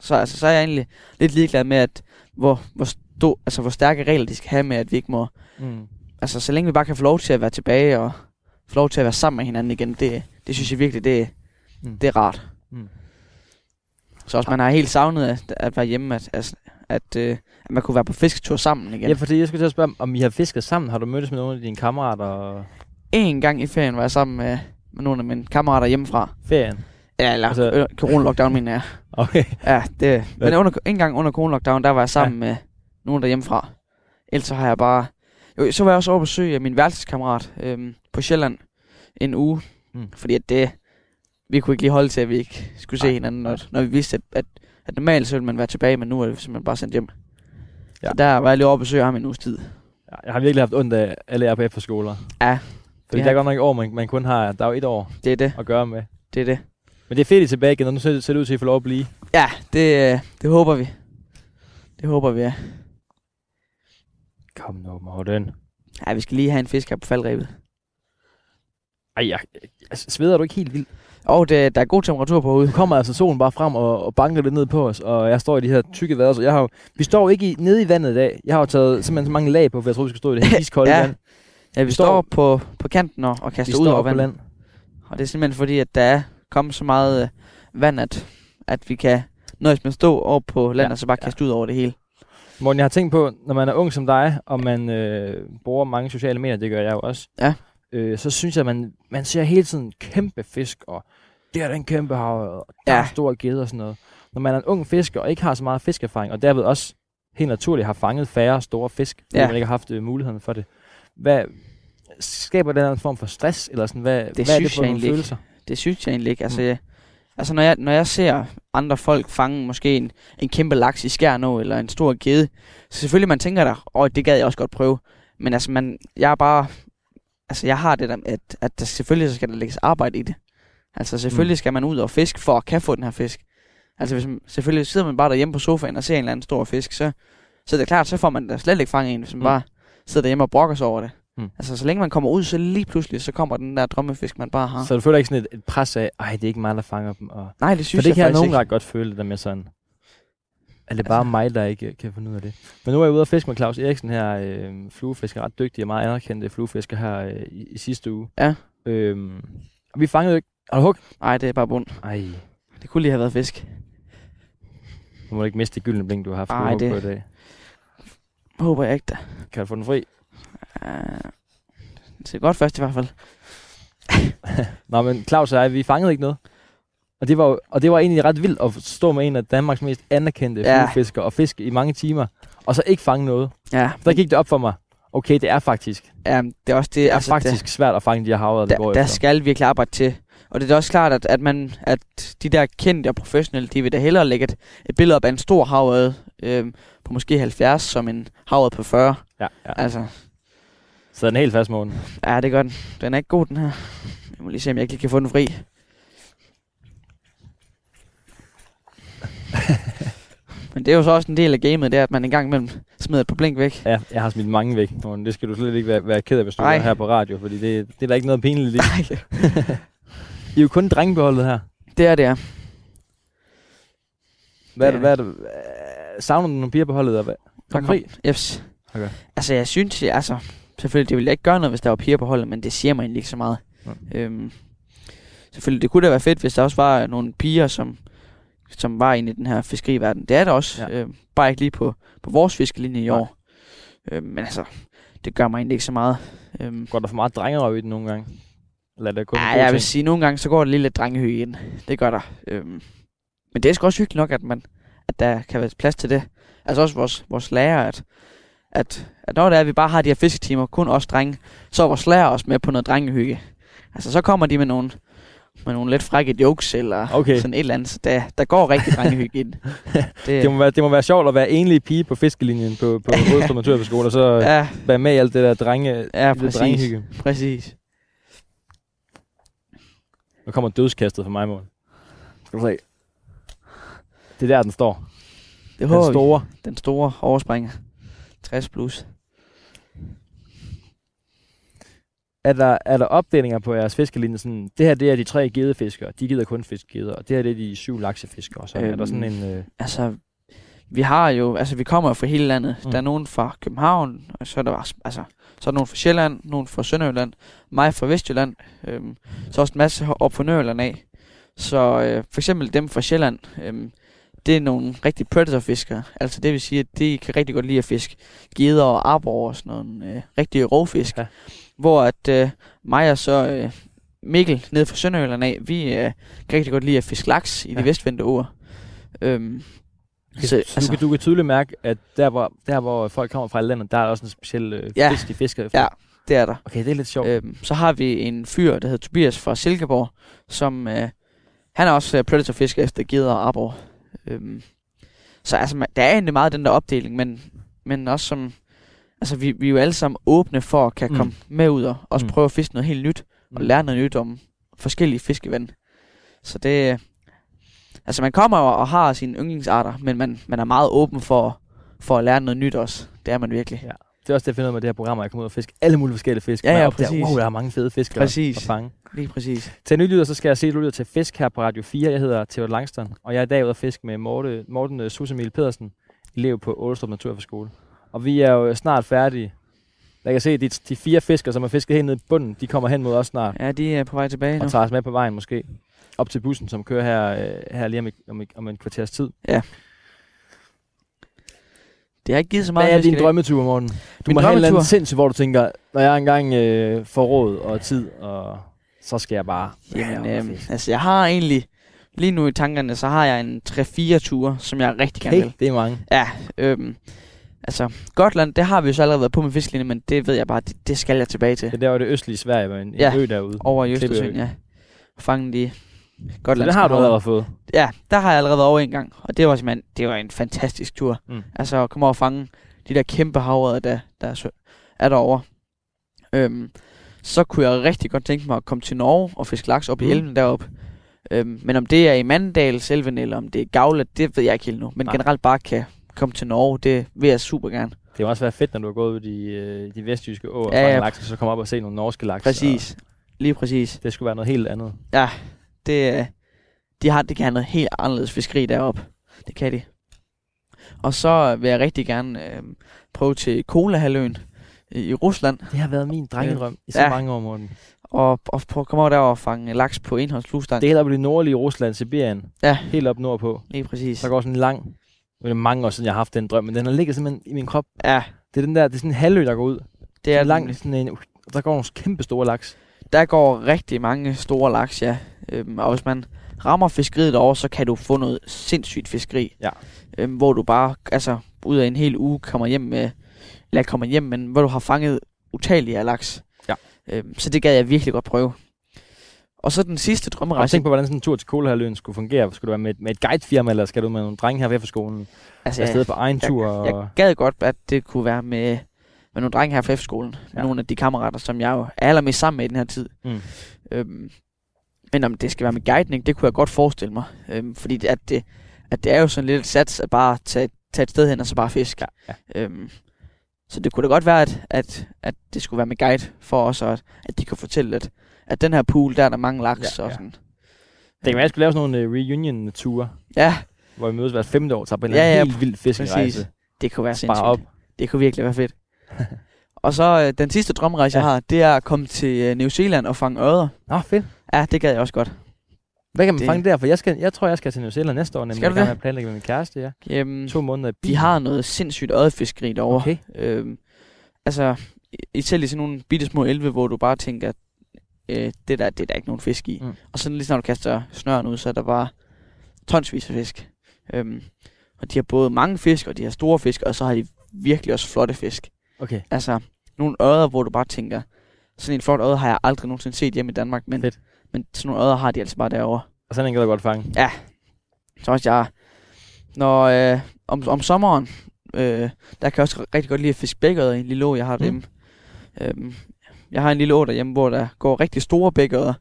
så, altså, så er jeg egentlig lidt ligeglad med, at hvor, hvor, sto, altså, hvor stærke regler de skal have med, at vi ikke må...
Mm.
Altså, så længe vi bare kan få lov til at være tilbage og få lov til at være sammen med hinanden igen, det, det synes jeg virkelig, det,
Mm.
mm. det er rart.
Mm.
Mm. Så også, man har helt savnet at, at være hjemme, at, at, at, øh, at man kunne være på fisketur sammen igen.
Ja, fordi jeg skulle til at spørge, om I har fisket sammen. Har du mødtes med nogle af dine kammerater og
en gang i ferien var jeg sammen med, med nogle af mine kammerater hjemmefra.
ferien?
Ja, eller
Altså-
altså, øh, corona-lockdown, mener jeg.
Okay.
Ja, det, men under, en gang under corona-lockdown, der var jeg sammen ja. med nogen der hjemmefra. Ellers så har jeg bare... Jo, så var jeg også over besøg af min værelseskammerat øhm, på Sjælland en uge.
Mm.
Mm. Fordi at det... Vi kunne ikke lige holde til, at vi ikke skulle se
Nej,
hinanden,
nej.
når, når vi vidste, at, at, at normalt så ville man være tilbage, men nu er vi simpelthen bare sendt hjem.
Ja.
Ja. Så der var jeg lige over at besøge ham en uges tid.
Ja, Jeg har virkelig haft ondt af alle jer på efterskoler.
Ja.
Fordi
Ja.
der er godt nok et år, man, man kun har... Der er jo et år
Det er det,
at gøre med.
det er det.
Men det er fedt, I er tilbage igen, og nu ser det, ser det ud til, at I får lov at blive.
Ja, det, øh, det håber vi. Det håber vi, ja.
Kom nu, Morten.
Ja, vi skal lige have en fisk her på faldrebet.
Ej, jeg, altså, sveder du ikke helt vildt?
Og det, der er god temperatur på
Nu
ude.
kommer altså solen bare frem og, og banker lidt ned på os, og jeg står i de her tykke vader, så jeg har jo, vi står jo ikke i, nede i vandet i dag. Jeg har jo taget simpelthen så mange lag på, for jeg troede, vi skulle stå i det her iskolde
Ja,
vand.
Ja, vi
står-
står, på, på kanten og, og kaster ud over vandet. Og det er simpelthen fordi, at der er kommet så meget øh, vand, at, at vi kan nøjes med at stå over på land
Ja,
ja, og så bare
ja.
kaste ud over det hele.
Morten, jeg har tænkt på, når man er ung som dig, og man øh, bruger mange sociale medier, det gør jeg jo også,
Ja.
øh, så synes jeg, at man, man ser hele tiden kæmpe fisk, og der er den kæmpe hav, og der ja. er
Ja.
en stor gedde og sådan noget. Når man er en ung fisker og ikke har så meget fiskerfaring, og derved også helt naturligt har fanget færre store fisk, fordi
Ja.
man ikke har haft øh, muligheden for det. Hvad skaber det en eller anden form for stress, eller sådan, hvad,
Det
hvad er det
synes
for
jeg
nogle
egentlig ikke.
følelser?
Det synes jeg egentlig ikke. Altså,
Mm.
jeg, altså når, jeg, når jeg ser andre folk fange måske en, en kæmpe laks i skærnå eller en stor gede, så selvfølgelig man tænker der, åh, det gad jeg også godt prøve. Men altså, man, jeg er bare, altså jeg har det der, at, at der selvfølgelig så skal der lægges arbejde i det. Altså selvfølgelig mm. skal man ud og fiske for at kan få den her fisk. Altså hvis man, selvfølgelig sidder man bare derhjemme på sofaen og ser en eller anden stor fisk, så, så er det klart, så får man da slet ikke fanget en, hvis man
Mm.
mm. bare sidder derhjemme og brokker sig over det.
Mm.
Altså, så længe man kommer ud, så lige pludselig, så kommer den der drømmefisk, man bare har.
Så du føler ikke sådan et, et pres af, ej, det er ikke mig, der fanger dem. Og...
Nej, det
For
synes
det
jeg
kan jeg
faktisk
nogen
ikke.
ret godt føle, det der med sådan, er det bare altså... mig, der ikke øh, kan finde ud af det. Men nu er jeg ude at fiske med Claus Eriksen her, øh, fluefisker, ret dygtig og meget anerkendt fluefisker her øh, i, i sidste uge.
Ja.
Øhm, og vi fangede jo ikke... Har du hug?
Nej, det er bare bund.
Ej,
Det kunne lige have været fisk.
nu må du ikke miste det gyldne blink, du har haft
Ej,
Ej, det...
det-
på i dag.
Håber jeg ikke, da.
Kan du få den fri?
Uh, det ser godt først i hvert fald.
Nå, men Claus og jeg, vi fangede ikke noget. Og det, var, jo- og det var egentlig ret vildt at stå med en af Danmarks mest anerkendte
Ja.
ja. og fiske i mange timer, og så ikke fange noget.
Ja,
Der gik det op for mig. Okay, det er faktisk,
ja det er også det.
det er altså, faktisk det... svært at fange de her havre, der,
der,
går
der
efter.
skal virkelig arbejde til. Og det er da også klart, at, at, man, at de der kendte og professionelle, de vil da hellere lægge et, et billede op af en stor havøde øh, på måske 70, som en havøde på 40.
Ja, ja.
Altså,
Så den er helt fast morgen.
ja, det gør den. Den er ikke god, den her. Jeg må lige se, om jeg ikke lige kan få den fri. Men det er jo så også en del af gamet, det er, at man en gang imellem smider et par blink væk.
Ja, jeg har smidt mange væk, morgen. Det skal du slet ikke være, være ked af, hvis du
Nej.
er her på radio, fordi det, det er der ikke noget pinligt i.
Nej,
I er jo kun drengebeholdet her.
det er det, er.
Hvad er
Ja.
det, hvad er det? øh, Savner du nogle piger på holdet? og hvad- Der kom fri.
Jeps.
Okay.
Altså, jeg synes, jeg, altså, selvfølgelig, det ville jeg ikke gøre noget, hvis der var piger på holdet, men det siger mig egentlig ikke så meget. Øhm, selvfølgelig, det kunne da være fedt, hvis der også var øh, nogle piger, som, som var inde i den her fiskeriverden. Det er der også,
Ja.
ja. øhm, bare ikke lige på, på vores fiskelinje i
Nej.
år. Øhm, men altså, det gør mig egentlig ikke så meget. Øhm,
Går der for meget drengerøv i den nogle gange? Eller er det kun
ja,
en god
jeg vil
ting?
sige, nogle gange, så går det lige lidt drengehøj ind. Det gør der. Øhm, men det er sgu også hyggeligt nok, at, man, at der kan være plads til det. Altså også vores, vores lærer, at, at, at når det er, at vi bare har de her fisketimer, kun os drenge, så er vores lærer også med på noget drengehygge. Altså så kommer de med nogle, med nogle lidt frække jokes, eller
Okay.
sådan et eller andet. Så der, der går rigtig drengehygge ind. Det,
Det må, være, det må være sjovt at være enlig pige på fiskelinjen på, på Rødstrup Naturskole, og så ja.
ja,
være med i alt det der drenge, ja,
ja,
det der
præcis.
drengehygge.
præcis.
Nu kommer dødskastet for mig, mål. Skal du se. Det er der, den står.
Det
Den
håber vi.
store.
Den store overspringer. 60 plus.
Er der, er der opdelinger på jeres fiskelinje? Sådan, det her det er de tre gedefiskere. De gider kun fiske geder. Og det her det er de syv laksefiskere. Og sådan. Øhm. Er der sådan
Øhm.
en... Øh,
altså, vi har jo, altså vi kommer jo fra hele landet.
Mm.
Mm. Der er nogen fra København, og så er der også, altså, så er der nogen fra Sjælland, nogen fra Sønderjylland, mig fra Vestjylland, øhm, så også en masse op fra Nørjylland af. Så øh, for eksempel dem fra Sjælland, øhm, det er nogle rigtig predatorfiskere. Altså det vil sige, at de kan rigtig godt lide at fiske geder og arbor og sådan nogle øh, rigtige rovfisk.
Ja.
Ja. Hvor at øh, mig og så øh, Mikkel nede fra Sønderjylland af, vi øh, kan rigtig godt lide at fiske laks i ja.
Ja.
de vestvendte åer. Øhm,
så, altså, du, kan, du kan tydeligt mærke, at der hvor, der, hvor folk kommer fra i landet, der er der også en speciel øh,
Ja.
fisk, de fisker efter.
Ja. det er der.
Okay, det er lidt sjovt. Øh.
Øhm, så har vi en fyr, der hedder Tobias fra Silkeborg, som øh, han er også øh, predatorfisker efter gedder og arbor. Øhm, så altså, man- der er egentlig meget den der opdeling, men, men også som... Altså, vi, vi er jo alle sammen åbne for at kan
Mm.
mm. komme med ud og også
Mm.
mm. prøve at fiske noget helt nyt, og lære noget nyt om forskellige fiskevand. Så det... øh, Altså, man kommer jo og har sine yndlingsarter, men man, man er meget åben for, for at lære noget nyt også. Det er man virkelig.
Det er også det, jeg finder ud af med det her program, at jeg kommer ud og fiske alle mulige forskellige fisk.
Ja,
Man er
ja,
opdager,
præcis.
Wow, der er mange fede fisk at,
Præcis.
at fange.
Lige præcis.
Til nylyder, så skal jeg se, at du lytter til Fisk her på Radio 4. Jeg hedder Theo Langstrøm, og jeg er i dag ude at fiske med Morten, Morten øh, Susemil Pedersen, elev på Ålestrup Naturfagskole. Og vi er jo snart færdige. Jeg kan se, at de, de fire fiskere, som har fisket helt ned i bunden, de kommer hen mod os snart
Ja, de er på vej tilbage nu.
og tager os med på vejen måske. Op til bussen, som kører her, øh, her lige om, et- om, et- om en kvarters tid.
Det har ikke givet så meget
Hvad er
fisk i
din
dag.
drømmetur, Morten? Du
Min
må have en eller
drømmetur?
anden sindssyg, hvor du tænker, når jeg engang øh, får råd og tid, og så skal jeg bare...
Jamen,
Ja,
øhm, altså jeg har egentlig, lige nu i tankerne, så har jeg en 3-4 ture, som jeg rigtig gerne
okay,
vil.
det er mange.
Ja, øhm, altså Gotland, det har vi jo så allerede været på med fiskelinje, men det ved jeg bare, det, det skal jeg tilbage til.
Det der var det østlige Sverige, men en
Ja.
ø derude.
Over i
Klippeø.
Østersøen, ja. Fange de
Så
Gotland.
det har du allerede fået.
Ja, der har jeg allerede været over en gang, og det var simpelthen, det var en fantastisk tur.
Mm.
Mm. Altså at komme over og fange de der kæmpe havre, der, der er, sø- er derovre. Øhm, så kunne jeg rigtig godt tænke mig at komme til Norge og fiske laks op i
Mm.
elven deroppe. Øhm, men om det er i Mandal, Selven, eller om det er Gavle, det ved jeg ikke helt nu. Men
Nej.
Nej. generelt bare kan komme til Norge, det vil jeg super gerne.
Det må også være fedt, når du har gået ud i øh, de vestjyske åer og
Ja,
ja,
ja.
ja. laks, og så kommer op og se nogle norske laks.
Præcis. Lige præcis.
Og det skulle være noget helt andet.
Det, øh, de har, det kan have noget helt anderledes fiskeri deroppe. Det kan de. Og så vil jeg rigtig gerne øh, prøve til Kolahalvøen øh, i Rusland.
Det har været min drengedrøm i så
Ja.
ja. mange år, Morten.
Og, og prøve at komme over der og fange laks på indholdsflugstang.
Det er helt op i det nordlige Rusland, Sibirien.
Ja.
Helt op nordpå.
Lige præcis.
Der går sådan en lang... Nu er det mange år siden, jeg har haft den drøm, men den har ligget simpelthen i min krop.
Ja,
Det er den der, det er sådan en halvø, der går ud.
det
Det
er
er
langt.
langt sådan en... uh, Der går nogle kæmpe store laks.
Der går rigtig mange store laks, ja. Øhm, og hvis man rammer fiskeriet derovre, så kan du få noget sindssygt fiskeri.
Ja.
Øhm, hvor du bare, altså, ud af en hel uge kommer hjem med, eller ikke kommer hjem, men hvor du har fanget utallige af laks.
Ja.
Øhm, så det gad jeg virkelig godt prøve. Og så den sidste
Og
drømmerejse.
tænk på, hvordan sådan en tur til Kolahaløen skulle fungere. Skulle det være med et, med et guidefirma, eller skal du med nogle drenge her ved for skolen?
altså,
Ja. Afsted på egen
jeg-
tur? Og...
jeg gad godt, at det kunne være med, med nogle drenge her fra F-skolen. Ja.
Ja.
Nogle af de kammerater, som jeg jo er allermest sammen med i den her tid.
Mm.
Øhm, men om det skal være med guidning, det kunne jeg godt forestille mig. Øhm, fordi det, at det, at det er jo sådan lidt et sats at bare tage, tage et sted hen og så bare fiske.
Ja, ja.
Øhm, så det kunne da godt være, at, at, at det skulle være med guide for os, og at, at de kunne fortælle, at, at den her pool, der er der mange laks.
Ja,
og
ja.
sådan.
Det kan være, at jeg skulle lave sådan nogle øh, reunion-ture,
ja,
hvor vi mødes hvert femte år og tager på en
Ja,
ja,
ja,
ja, helt vild fiskerejse.
præcis. Det kunne være sindssygt.
Bare op.
Det kunne virkelig være fedt. og så øh, den sidste drømrejse, ja.
Ja.
jeg har, det er at komme til øh, New Zealand og fange øder.
Nå, fedt.
Ja, det gad jeg også godt.
Hvad kan man
Det-
det... fange der? For jeg, skal, jeg tror, jeg skal til New Zealand næste år, nemlig.
Skal du
Jeg er i gang
det?
med at planlægge med min kæreste, ja.
Jamen,
To måneder i bil.
Øhm, de har noget sindssygt øjefiskeri derovre.
Okay.
Øhm, altså, i- selv i sådan nogle bitte små elve, hvor du bare tænker, øh, det der, det er der ikke nogen fisk i. Mm.
Mm.
Og så lige snart du kaster snøren ud, så er der bare tonsvis af fisk. Øhm, og de har både mange fisk, og de har store fisk, og så har de virkelig også flotte fisk.
Okay.
Altså, nogle ører, hvor du bare tænker, sådan en flot øje har jeg aldrig nogensinde set hjemme i Danmark, men,
Fedt.
men sådan nogle øjer har de altså bare derovre.
Og sådan en kan du godt fange.
Så også jeg, når, øh, om, om sommeren, øh, der kan jeg også rigtig godt lide at fiske bækkerødder i en lille å, jeg har derhjemme. Øhm, jeg har en lille å derhjemme, hvor der går rigtig store bækkerødder.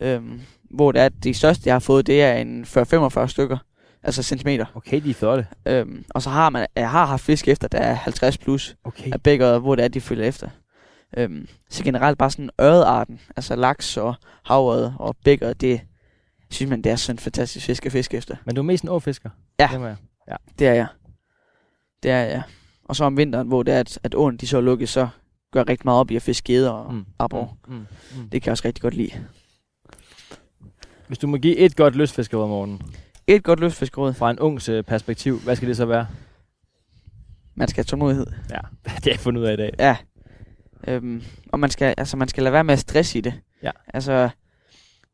Øhm, hvor det er, at de største, jeg har fået, det er en 40-45 stykker. Altså centimeter.
Okay, de er flotte.
Øhm, og så har man, jeg har haft fisk efter, der er 50 plus
Okay.
af bækkerødder, hvor det er, de følger efter. Øhm, så generelt bare sådan ørearten, altså laks og havrød og bækkerødder, det synes man, det er sådan en fantastisk fisk at fiske efter.
Men du er mest en åfisker?
Ja.
Det må jeg.
Det er jeg. Det er jeg. Og så om vinteren, hvor det er, at, at åen de så er lukket, så gør jeg rigtig meget op i at fiske geder og mm. abor.
Mm. Mm. Mm.
Det kan jeg også rigtig godt lide.
Hvis du må give et godt lystfiskeråd, Morten,
Et godt lystfiskeråd.
fra en ungs øh, perspektiv, hvad skal det så være?
Man skal have tålmodighed.
Ja, det har jeg fundet ud af i dag.
Ja. Øhm, og man skal, altså, man skal lade være med at stresse i det.
Ja.
Altså,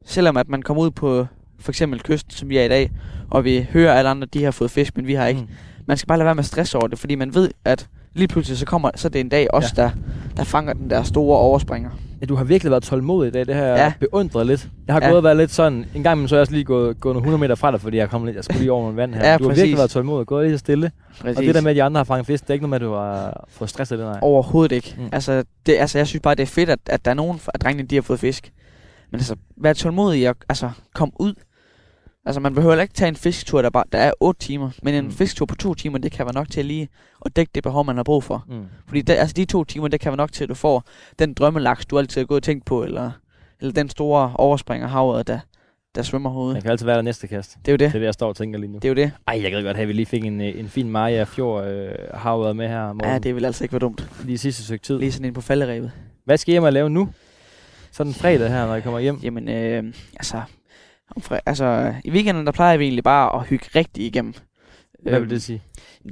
selvom at man kommer ud på for eksempel kysten, som vi er i dag, og vi hører at alle andre, de har fået fisk, men vi har ikke.
Mm.
Man skal bare lade være med at stresse over det, fordi man ved, at lige pludselig så kommer så er det en dag også, ja. der, der fanger den der store overspringer.
Ja, du har virkelig været tålmodig i dag. Det har jeg
Ja.
ja. beundret lidt. Jeg har
Ja.
ja. gået og været lidt sådan... En gang imellem, så er jeg også lige gået, gået nogle 100 meter fra dig, fordi jeg, kom lidt, jeg skulle lige over nogle vand her.
Ja,
du har
præcis.
virkelig været tålmodig. Gået lige så stille.
Præcis.
Og det der med, at de andre har fanget fisk, det er ikke noget med, at du har fået stress af det, nej.
Overhovedet ikke. Mm.
Mm.
Altså, det, altså, jeg synes bare, det er fedt, at, at der er nogen af drengene, de har fået fisk. Men altså, vær tålmodig og altså, kom ud. Altså, man behøver heller ikke tage en fisketur, der, bare, der er 8 timer. Men en mm.
Mm.
fisketur på 2 timer, det kan være nok til at lige at dække det behov, man har brug for.
Mm.
Fordi der, altså, de 2 timer, det kan være nok til, at du får den drømmelaks, du altid har gået og tænkt på, eller, eller den store overspringer havet, der, der svømmer
Man
hovedet.
kan altid være der næste kast.
Det er jo
Det
det.
er det, jeg står og tænker lige nu.
Det er jo det.
Ej, jeg gad godt have, at vi lige fik en, øh, en fin Maja Fjord øh, havet med her morgen.
Ja, det vil altså ikke være dumt.
Lige sidste stykke tid.
Lige sådan en på falderæbet.
Hvad skal I hjem og lave nu? Sådan fredag her, når jeg kommer hjem.
Jamen, øh, altså, om fre- altså, i weekenden, der plejer vi egentlig bare at hygge rigtig igennem.
Hvad
Øhm,
vil det sige?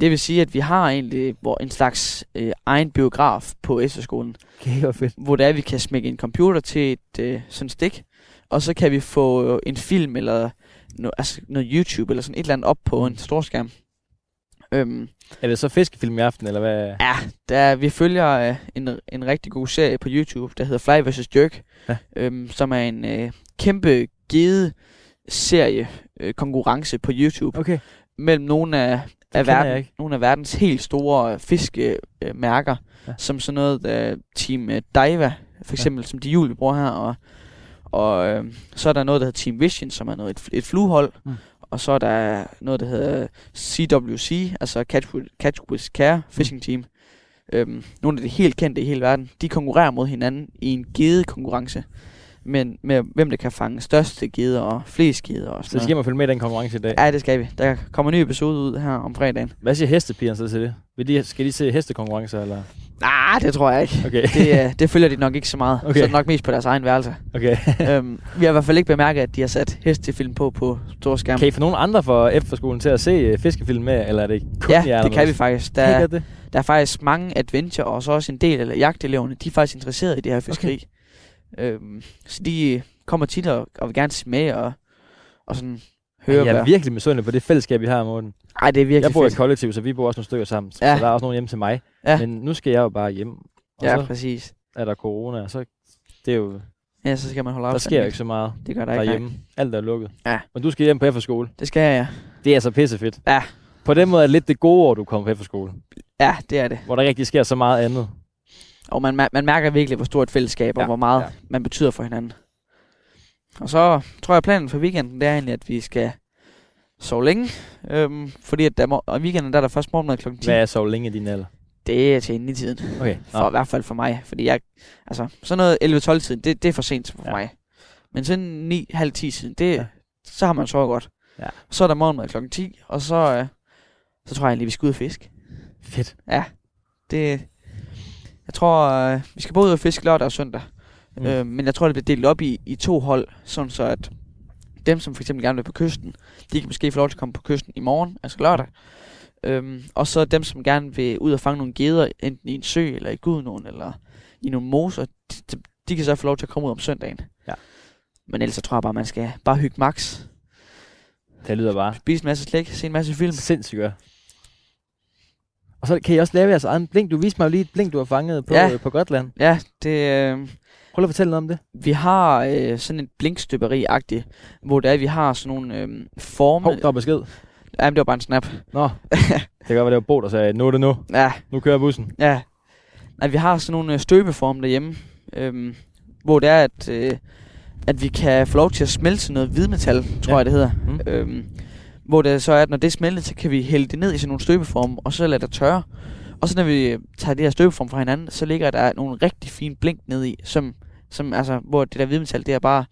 Det vil sige, at vi har egentlig hvor en slags øh, egen biograf på efterskolen,
Okay, hvor fedt.
hvor det er, at vi kan smække en computer til et øh, sådan stik, og så kan vi få øh, en film eller no, altså noget YouTube eller sådan et eller andet op på en stor skærm. Øhm,
Er det så fiskefilm i aften, eller hvad?
Ja, der, vi følger øh, en, en rigtig god serie på YouTube, der hedder Fly vs. Jerk, ja.
Ja.
øhm, som er en øh, kæmpe givet serie øh, konkurrence på YouTube
Okay.
mellem nogle af, af,
kender jeg
verden,
ikke.
nogle af verdens helt store øh, fiskemærker, ja.
Ja.
som sådan noget øh, Team øh, Daiwa, for eksempel, ja. som de jul, vi bruger her, og, og øh, så er der noget, der hedder Team Vision, som er noget, et, et fluehold, mm.
Mm.
og så er
Mm.
der noget, der hedder CWC, altså Catch with, Catch with Care Fishing Team, Øhm, nogle af de helt kendte i hele verden, de konkurrerer mod hinanden i en gedekonkurrence. Men med hvem der kan fange største geder og flest geder og
Så
sådan
skal
noget.
man følge med i den konkurrence i dag.
Ja, det skal vi. Der kommer en ny episode ud her om fredagen.
Hvad siger hestepigerne så til det? Vil de, skal de se hestekonkurrencer, eller? Ah,
Nej, det tror jeg ikke.
Okay,
Det, øh, det følger de nok ikke så meget.
Okay.
Okay. Så er det nok mest på deres egen værelse.
okay.
øhm, vi har i hvert fald ikke bemærket, at de har sat hestefilm på på store skærm.
Kan I få nogen andre fra F-skolen til at se uh, fiskefilm med, eller er det kun jer,
ja,
eller
det kan
hvad?
vi faktisk.
Kan I
Der,
godt det?
der er faktisk mange adventure, og så også en del af jagteleverne, de er faktisk interesseret i det her fiskeri. Okay. Øhm, så de øh, kommer tit og, og vil gerne se med og, og sådan høre,
Jeg
hvad...
er virkelig misundelig på det fællesskab, vi har, Morten.
Ej, det er virkelig
Jeg bor i et
fedt.
kollektiv, så vi bor også nogle stykker sammen. Ja.
Ja.
Så der er også nogen hjemme til mig.
Ja.
Men nu skal jeg jo bare hjem. Og
Ja,
så
præcis.
er der corona, og så det er jo,
Ja, så skal man holde
der
afstand.
sker jo ikke så meget
Det gør der ikke.
derhjemme.
nej.
Alt er lukket.
Ja.
Men du skal hjem på efterskole.
Det skal jeg, ja.
Det er altså pissefedt.
Ja.
På den måde er det lidt det gode år, du kommer på efterskole.
Ja, det er det.
Hvor der ikke rigtig sker så meget andet.
Og man, mær- man mærker virkelig, hvor stort et fællesskab, ja.
Ja,
og hvor meget
ja.
ja. man betyder for hinanden. Og så tror jeg, planen for weekenden, det er egentlig, at vi skal sove længe. Øhm, fordi at der må, og i weekenden, der er der først morgenmad kl. 10.
Hvad er så længe i din alder?
Det er til inden i tiden.
Okay.
For,
Nå.
I hvert fald for mig. Fordi jeg, altså, sådan noget 11-12 tiden, det, det er for sent for
Ja.
ja. mig. Men sådan 9-10 siden, det,
Ja.
ja. så har man sovet godt.
Ja.
Så er der morgenmad kl. 10, og så, øh, så tror jeg egentlig, vi skal ud og fiske.
Fedt.
Det, jeg tror, øh, vi skal både ud og fiske lørdag og søndag.
Mm.
Mm. Øh, men jeg tror, det bliver delt op i, i to hold, sådan så at dem, som for eksempel gerne vil på kysten, de kan måske få lov til at komme på kysten i morgen, altså lørdag. Øhm, og så dem, som gerne vil ud og fange nogle geder, enten i en sø, eller i Gudnåen, eller i nogle moser, de, de- de kan så få lov til at komme ud om søndagen.
Ja.
Men ellers så tror jeg bare, man skal bare hygge max,
Det lyder bare
spise en masse slik, se en masse film.
sindssygt godt. Og så kan I også lave jeres egen blink. Du viste mig jo lige et blink, du har fanget på,
Ja.
øh, på Gotland.
Ja, det, øh,
Prøv lige at fortælle noget om det.
vi har øh, sådan et blinkstøberi-agtigt, hvor det er, vi har sådan nogle øh, forme.
Hov, der er besked.
Jamen, det var bare en snap.
Nå, det kan godt være, det var Bo, der sagde, nu er det nu.
Ja,
Nu kører bussen.
Ja. Nej, vi har sådan nogle øh, støbeforme derhjemme, øhm, hvor det er, at, øh, at vi kan få lov til at smelte noget hvidmetal,
Ja.
tror ja. jeg det hedder.
Mm.
Mm. Øhm, hvor det så er, at når det er smeltet, så kan vi hælde det ned i sådan nogle støbeforme, og så lade det tørre. Og så når vi øh, tager de her støbeforme fra hinanden, så ligger der nogle rigtig fine blink ned i, som, som, altså, hvor det der hvidmetal, det er bare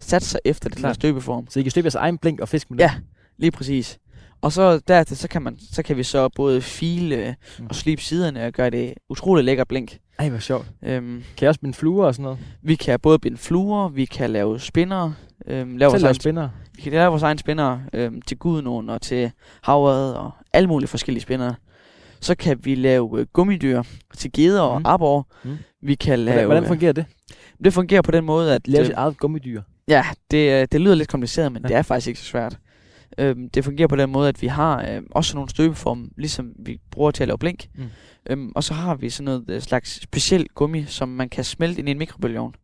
sat sig efter den der
Klart.
støbeform.
Så I kan støbe jeres egen blink og fisk med
Ja. Lige præcis. Og så derefter, så kan, man, så kan vi så både file øh,
Mm.
og slibe siderne og gøre det utrolig lækker blink.
det. Ej, hvor sjovt.
Øhm,
Kan I også binde fluer og sådan noget?
Vi kan både binde fluer, vi kan lave spinner, øhm, lave, vores
Selv lave
egen,
spindere.
vi kan lave vores egen spinner øhm, til Gudnåen og til Havred og alle mulige forskellige spinner. Så kan vi lave øh, gummidyr til geder
Mm.
og abor.
Mm.
Vi kan lave...
Hvordan, hvordan
øh,
fungerer det?
det fungerer på den måde, at...
Lave
øh,
sit eget gummidyr.
Ja, det, øh, det lyder lidt kompliceret, men
Ja.
ja. det er faktisk ikke så svært. Øhm, det fungerer på den måde, at vi har øh, også nogle støbeform, ligesom vi bruger til at lave blink.
Mm.
Mm. Øhm, og så har vi sådan noget øh, slags speciel gummi, som man kan smelte ind i en mikrobølgeovn.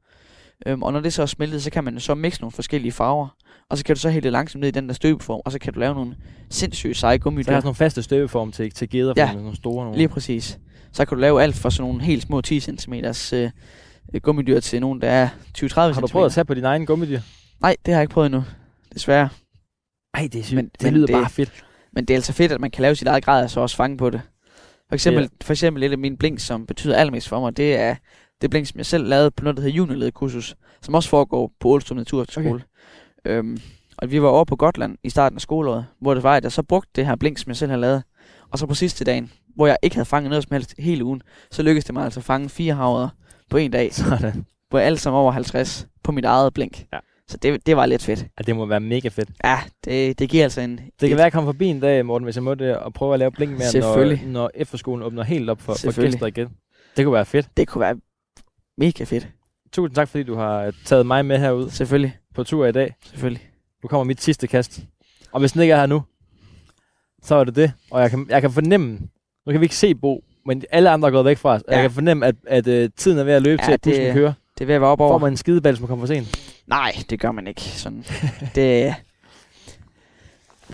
Øhm, og når det så er smeltet, så kan man så mixe nogle forskellige farver. Og så kan du så hælde det langsomt ned i den der støbeform, og så kan du lave nogle sindssyge seje
Så jeg har
gummidyr.
sådan nogle faste støbeform til, til geder,
Ja.
ja. nogle store nogle.
Lige præcis. Så kan du lave alt fra sådan nogle helt små 10 cm øh, gummidyr til nogle, der er 20-30 cm.
Har du prøvet at tage på dine egne gummidyr?
Nej, det har jeg ikke prøvet endnu. Desværre.
Ej, det er sygt.
Men-
det
men
lyder
det-
bare fedt.
Men det er altså fedt, at man kan lave sit eget grad og så også fange på det. For eksempel,
Ja.
yeah. for eksempel et af mine blink, som betyder allermest for mig, det er det blink, som jeg selv lavede på noget, der hedder juniorlederkursus, som også foregår på Ålstrup Naturskole. Okay. Øhm, og vi var over på Gotland i starten af skoleåret, hvor det var, at jeg så brugte det her blink, som jeg selv havde lavet. Og så på sidste dagen, hvor jeg ikke havde fanget noget som helst hele ugen, så lykkedes det mig altså at fange fire havre på en dag,
Sådan.
hvor jeg alt sammen over 50 på mit eget blink.
Ja.
Så det, det var lidt fedt.
Ja, det må være mega fedt.
Ja, det, det giver altså en...
Det kan være, at jeg kommer forbi en dag, Morten, hvis jeg må det, og prøve at lave blink med, når,
Selvfølgelig.
når efterskolen åbner helt op for, for
Selvfølgelig.
gæster igen. Det kunne være fedt.
det kunne være mega fedt.
Tusind tak, fordi du har taget mig med herud
Selvfølgelig,
på tur i dag.
selvfølgelig.
Nu kommer mit sidste kast. Og hvis den ikke er her nu, så er det det. Og jeg kan, jeg kan fornemme, nu kan vi ikke se Bo, men alle andre er gået væk fra os. Ja.
Ja.
Jeg kan fornemme, at, at uh, tiden er ved at løbe ja,
Ja,
til, at
det-
bussen kører.
Det er ved at være op
Får
over.
man en skideball, som kommer for sent.
Nej, det gør man ikke. Sådan. det,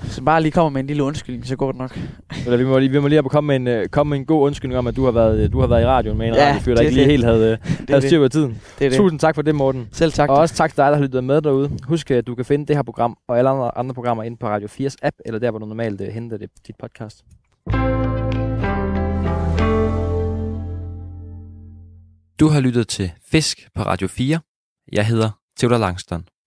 så bare lige kommer med en lille undskyldning, så går det nok.
Eller vi må lige, vi må lige op og komme med, en, øh, komme med en god undskyldning om, at du har været, øh, du har været i radioen med en
Ja,
ja, radiofyr, der
det er
ikke lige
det.
helt havde, øh,
Det er
havde styr
det.
på tiden.
det, er det.
Tusind tak for det, Morten.
Selv tak.
Og også tak til dig, der har lyttet med derude. Husk, at du kan finde det her program og alle andre, andre programmer inde på Radio 4's app, eller der, hvor du normalt øh, henter det, dit podcast. Du har lyttet til Fisk på Radio 4. Jeg hedder Theodor Langston.